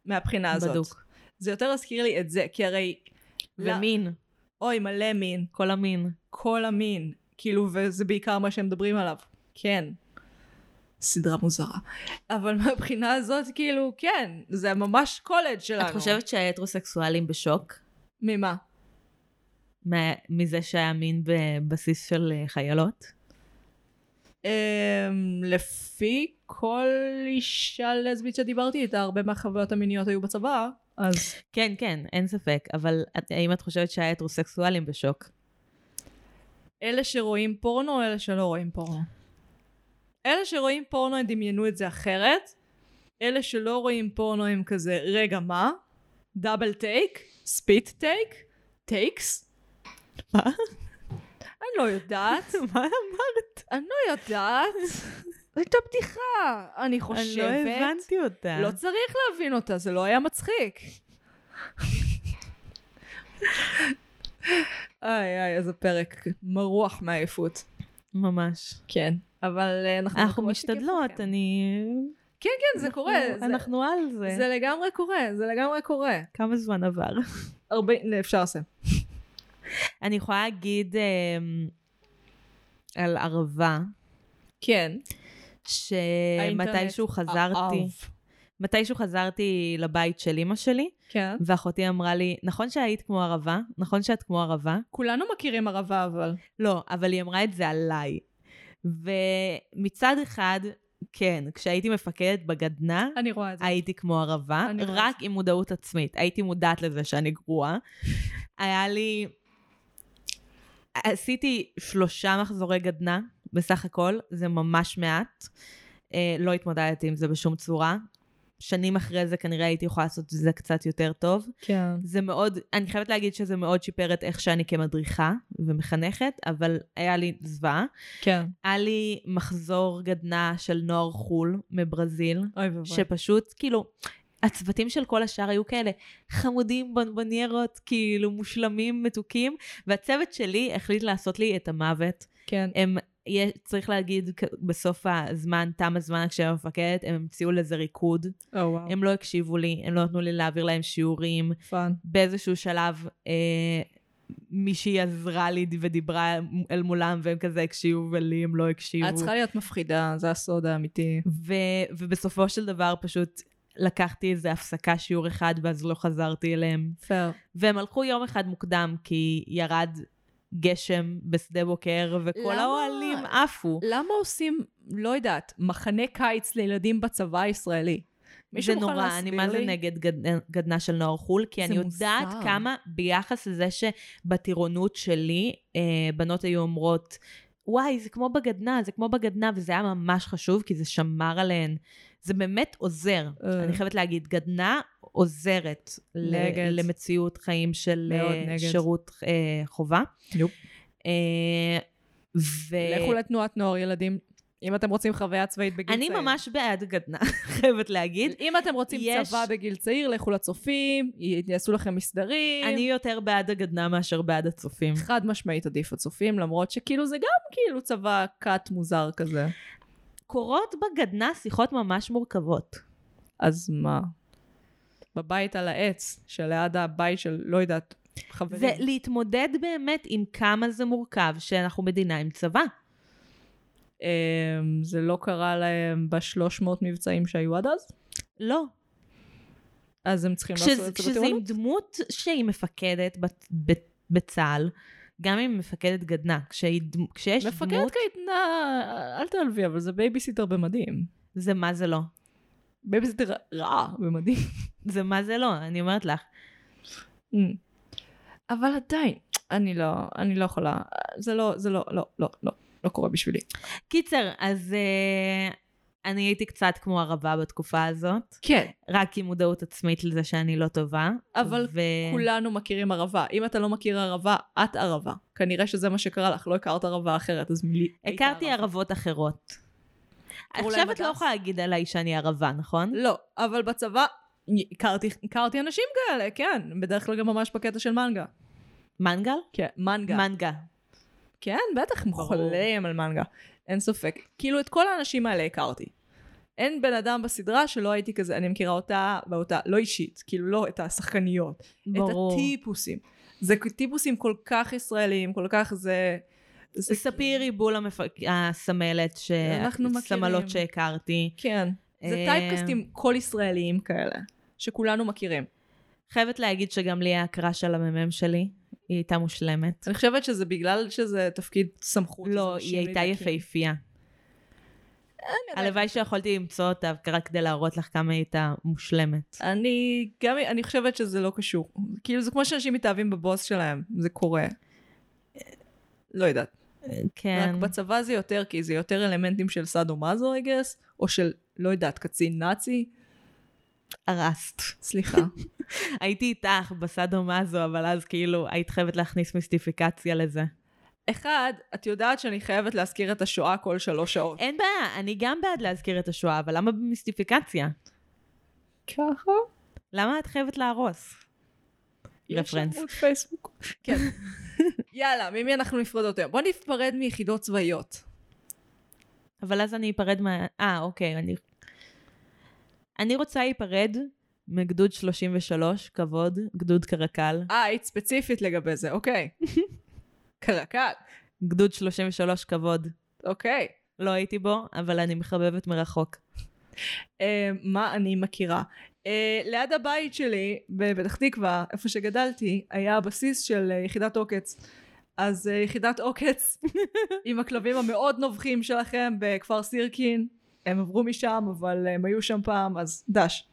Speaker 1: מהבחינה הזאת.
Speaker 2: בדוק.
Speaker 1: זה יותר הזכיר לי את זה, כי הרי... לא.
Speaker 2: ומין,
Speaker 1: אוי, מלא מין.
Speaker 2: כל המין.
Speaker 1: כל המין, כאילו, וזה בעיקר מה שהם מדברים עליו. כן. סדרה מוזרה. אבל מהבחינה הזאת, כאילו, כן, זה ממש קולג' שלנו.
Speaker 2: את חושבת שההטרוסקסואלים בשוק?
Speaker 1: ממה?
Speaker 2: מה- מזה שהיה מין בבסיס של אה, חיילות?
Speaker 1: אמ, לפי כל אישה לסבית שדיברתי איתה, הרבה מהחוויות המיניות היו בצבא, אז
Speaker 2: כן, כן, אין ספק, אבל את- האם את חושבת שההטרוסקסואלים בשוק?
Speaker 1: אלה שרואים פורנו או אלה שלא רואים פורנו? אלה שרואים פורנו הם דמיינו את זה אחרת, אלה שלא רואים פורנו הם כזה, רגע מה? דאבל טייק? ספיט טייק? טייקס?
Speaker 2: מה?
Speaker 1: אני לא יודעת,
Speaker 2: [LAUGHS] מה אמרת?
Speaker 1: אני לא
Speaker 2: [LAUGHS]
Speaker 1: יודעת. הייתה בדיחה, אני חושבת.
Speaker 2: אני לא הבנתי אותה.
Speaker 1: לא צריך להבין אותה, זה לא היה מצחיק. איי איי, איזה פרק מרוח מעייפות.
Speaker 2: ממש.
Speaker 1: כן, אבל אה, אנחנו...
Speaker 2: אנחנו
Speaker 1: מקוות שכיף
Speaker 2: משתדלות,
Speaker 1: לכם.
Speaker 2: אני...
Speaker 1: כן, כן, זה קורה. זה-
Speaker 2: אנחנו על זה.
Speaker 1: זה לגמרי קורה, זה לגמרי קורה.
Speaker 2: כמה זמן עבר.
Speaker 1: הרבה... לא, אפשר לסיים.
Speaker 2: [LAUGHS] אני יכולה להגיד אמ, על ערבה,
Speaker 1: כן.
Speaker 2: שמתישהו
Speaker 1: האינטרנט
Speaker 2: חזרתי,
Speaker 1: אהב.
Speaker 2: מתישהו חזרתי לבית של אימא שלי,
Speaker 1: כן.
Speaker 2: ואחותי אמרה לי, נכון שהיית כמו ערבה? נכון שאת כמו ערבה?
Speaker 1: כולנו מכירים ערבה אבל.
Speaker 2: לא, אבל היא אמרה את זה עליי. ומצד אחד, כן, כשהייתי מפקדת בגדנ"ע,
Speaker 1: אני רואה את זה.
Speaker 2: הייתי כמו ערבה,
Speaker 1: אני רואה
Speaker 2: רק עם מודעות עצמית. הייתי מודעת לזה שאני גרועה. היה לי... עשיתי שלושה מחזורי גדנ"ע בסך הכל, זה ממש מעט. אה, לא התמודדתי עם זה בשום צורה. שנים אחרי זה כנראה הייתי יכולה לעשות את זה קצת יותר טוב.
Speaker 1: כן.
Speaker 2: זה מאוד, אני חייבת להגיד שזה מאוד שיפר את איך שאני כמדריכה ומחנכת, אבל היה לי זוועה.
Speaker 1: כן.
Speaker 2: היה לי מחזור גדנ"ע של נוער חו"ל מברזיל,
Speaker 1: אוי ואבוי.
Speaker 2: שפשוט כאילו, הצוותים של כל השאר היו כאלה חמודים, בונבוניירות, כאילו מושלמים, מתוקים, והצוות שלי החליט לעשות לי את המוות.
Speaker 1: כן.
Speaker 2: הם, יש, צריך להגיד, כ- בסוף הזמן, תם הזמן כשהם המפקדת, הם המציאו לזה ריקוד.
Speaker 1: או אה, וואו.
Speaker 2: הם לא הקשיבו לי, הם לא נתנו לי להעביר להם שיעורים.
Speaker 1: פאן.
Speaker 2: באיזשהו שלב אה, מישהי עזרה לי ודיברה אל מולם, והם כזה הקשיבו ולי הם לא הקשיבו.
Speaker 1: את צריכה להיות מפחידה, זה הסוד האמיתי.
Speaker 2: ו- ובסופו של דבר פשוט לקחתי איזה הפסקה שיעור אחד, ואז לא חזרתי אליהם.
Speaker 1: פייר.
Speaker 2: והם הלכו יום אחד מוקדם, כי ירד גשם בשדה בוקר, וכל
Speaker 1: למה?
Speaker 2: האוהלים עפו.
Speaker 1: למה עושים, לא יודעת, מחנה קיץ לילדים בצבא הישראלי?
Speaker 2: זה
Speaker 1: מישהו מוכן
Speaker 2: נורא, אני מה
Speaker 1: להסביר
Speaker 2: זה
Speaker 1: לי?
Speaker 2: נגד גד- גדנה של נוער חו"ל, כי
Speaker 1: זה
Speaker 2: אני יודעת
Speaker 1: מוזר.
Speaker 2: כמה ביחס לזה שבטירונות שלי, אה, בנות היו אומרות, וואי, זה כמו בגדנה, זה כמו בגדנה, וזה היה ממש חשוב, כי זה שמר עליהן. זה באמת עוזר.
Speaker 1: אה.
Speaker 2: אני חייבת להגיד, גדנה עוזרת ל-
Speaker 1: נגד.
Speaker 2: למציאות חיים של
Speaker 1: מאוד
Speaker 2: אה,
Speaker 1: נגד.
Speaker 2: שירות אה, חובה.
Speaker 1: יופ.
Speaker 2: אה, ו...
Speaker 1: לכו לתנועת נוער, ילדים, אם אתם רוצים חוויה צבאית בגיל
Speaker 2: אני
Speaker 1: צעיר.
Speaker 2: ממש בעד גדנה, [LAUGHS] חייבת להגיד.
Speaker 1: אם אתם רוצים
Speaker 2: יש-
Speaker 1: צבא בגיל צעיר, לכו לצופים, י- יעשו לכם מסדרים.
Speaker 2: אני יותר בעד הגדנה מאשר בעד הצופים.
Speaker 1: חד משמעית עדיף הצופים, למרות שכאילו זה גם כאילו צבא כת מוזר כזה.
Speaker 2: קורות בגדנה שיחות ממש מורכבות.
Speaker 1: אז מה? בבית על העץ, שליד הבית של, לא יודעת, חברים.
Speaker 2: זה להתמודד באמת עם כמה זה מורכב שאנחנו מדינה עם צבא.
Speaker 1: אמ, זה לא קרה להם בשלוש מאות מבצעים שהיו עד אז,
Speaker 2: לא.
Speaker 1: אז הם צריכים לעשות
Speaker 2: כשזה,
Speaker 1: את זה
Speaker 2: כשזה עם
Speaker 1: בטירונות.
Speaker 2: דמות שהיא מפקדת בת- ב- בצה"ל, גם אם היא מפקדת גדנה, כשהיא דמ- כשיש
Speaker 1: מפקדת
Speaker 2: דמות,
Speaker 1: קייטנה, אל תעלבי, אבל זה בייביסיטר במדים.
Speaker 2: זה מה זה לא.
Speaker 1: בייביסיטר רע במדים.
Speaker 2: [LAUGHS] זה מה זה לא, אני אומרת לך.
Speaker 1: אמ. אבל עדיין, אני לא, אני לא יכולה, זה לא, זה לא, לא, לא, לא, לא קורה בשבילי.
Speaker 2: קיצר, אז אה, אני הייתי קצת כמו ערבה בתקופה הזאת,
Speaker 1: כן,
Speaker 2: רק עם מודעות עצמית לזה שאני לא טובה.
Speaker 1: אבל
Speaker 2: ו...
Speaker 1: כולנו מכירים ערבה. אם אתה לא מכיר ערבה, את ערבה. כנראה שזה מה שקרה לך, לא הכרת ערבה אחרת, אז מילי...
Speaker 2: הכרתי
Speaker 1: היית
Speaker 2: ערבות אחרות.
Speaker 1: קראו
Speaker 2: עכשיו
Speaker 1: להם
Speaker 2: את לא
Speaker 1: הדס?
Speaker 2: יכולה להגיד עליי שאני ערבה, נכון?
Speaker 1: לא, אבל בצבא הכרתי, הכרתי אנשים כאלה, כן. בדרך כלל גם ממש בקטע של מנגה.
Speaker 2: מנגל?
Speaker 1: כן, מנגה.
Speaker 2: מנגה.
Speaker 1: כן, בטח, הם
Speaker 2: ברור.
Speaker 1: חולים על מנגה. אין ספק. כאילו, את כל האנשים האלה הכרתי. אין בן אדם בסדרה שלא הייתי כזה, אני מכירה אותה, ואותה, לא אישית, כאילו לא את השחקניות.
Speaker 2: ברור.
Speaker 1: את הטיפוסים. זה טיפוסים כל כך ישראלים, כל כך זה... זה
Speaker 2: ספירי בול המפק- הסמלת, ש-
Speaker 1: כאילו. אנחנו מכירים.
Speaker 2: סמלות שהכרתי.
Speaker 1: כן. זה
Speaker 2: אה,
Speaker 1: טייפקסטים כל ישראליים כאלה, שכולנו מכירים.
Speaker 2: חייבת להגיד שגם לי היה קראש על הממ"מ שלי, היא הייתה מושלמת.
Speaker 1: אני חושבת שזה בגלל שזה תפקיד סמכות. אז
Speaker 2: לא,
Speaker 1: אנשים
Speaker 2: היא הייתה
Speaker 1: נדלקים.
Speaker 2: יפהפייה. הלוואי שיכולתי למצוא אותה רק כדי להראות לך כמה היא הייתה מושלמת.
Speaker 1: אני גם, אני חושבת שזה לא קשור. כאילו זה כמו שאנשים מתאהבים בבוס שלהם, זה קורה. לא יודעת.
Speaker 2: כן.
Speaker 1: רק בצבא זה יותר, כי זה יותר אלמנטים של סאדו מאזו, I guess, או של, לא יודעת, קצין נאצי.
Speaker 2: הרסת.
Speaker 1: [LAUGHS] סליחה.
Speaker 2: הייתי איתך בסאדו מאזו, אבל אז כאילו היית חייבת להכניס מיסטיפיקציה לזה.
Speaker 1: אחד, את יודעת שאני חייבת להזכיר את השואה כל שלוש [LAUGHS] שעות.
Speaker 2: אין בעיה, אני גם בעד להזכיר את השואה, אבל למה במיסטיפיקציה?
Speaker 1: ככה?
Speaker 2: למה את חייבת להרוס? רפרנס.
Speaker 1: יש עמוד פייסבוק. כן. יאללה, ממי אנחנו נפרדות היום? בוא נפרד מיחידות צבאיות.
Speaker 2: אבל אז אני אפרד מה... אה, אוקיי, אני... אני רוצה להיפרד מגדוד 33, כבוד, גדוד קרקל.
Speaker 1: אה, היית ספציפית לגבי זה, [LAUGHS] אוקיי. קרקל,
Speaker 2: גדוד 33, כבוד.
Speaker 1: אוקיי.
Speaker 2: לא הייתי בו, אבל אני מחבבת מרחוק.
Speaker 1: אה, מה אני מכירה? אה, ליד הבית שלי, בפתח תקווה, איפה שגדלתי, היה הבסיס של אה, יחידת עוקץ. אז אה, יחידת עוקץ, [LAUGHS] עם הכלבים המאוד נובחים שלכם בכפר סירקין, הם עברו משם, אבל הם היו שם פעם, אז דש.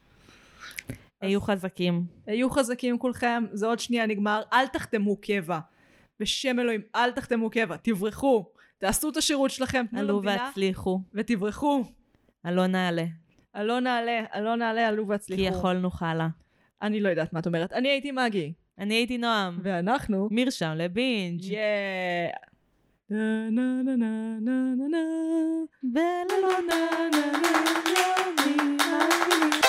Speaker 2: היו חזקים.
Speaker 1: היו חזקים כולכם, זה עוד שנייה נגמר, אל תחתמו קבע. בשם אלוהים, אל תחתמו קבע, תברחו, תעשו את השירות שלכם, תנו
Speaker 2: עלו
Speaker 1: למדינה,
Speaker 2: והצליחו,
Speaker 1: ותברחו.
Speaker 2: עלו נעלה,
Speaker 1: עלו נעלה, עלו נעלה, עלו
Speaker 2: כי
Speaker 1: והצליחו.
Speaker 2: יכולנו חלה.
Speaker 1: אני לא יודעת מה את אומרת. אני הייתי מגי,
Speaker 2: אני הייתי נועם.
Speaker 1: ואנחנו...
Speaker 2: מרשם לבינג'.
Speaker 1: יאה. נה נה נה נה נה נה נה
Speaker 2: בלילות.
Speaker 1: נה נה נה נה נה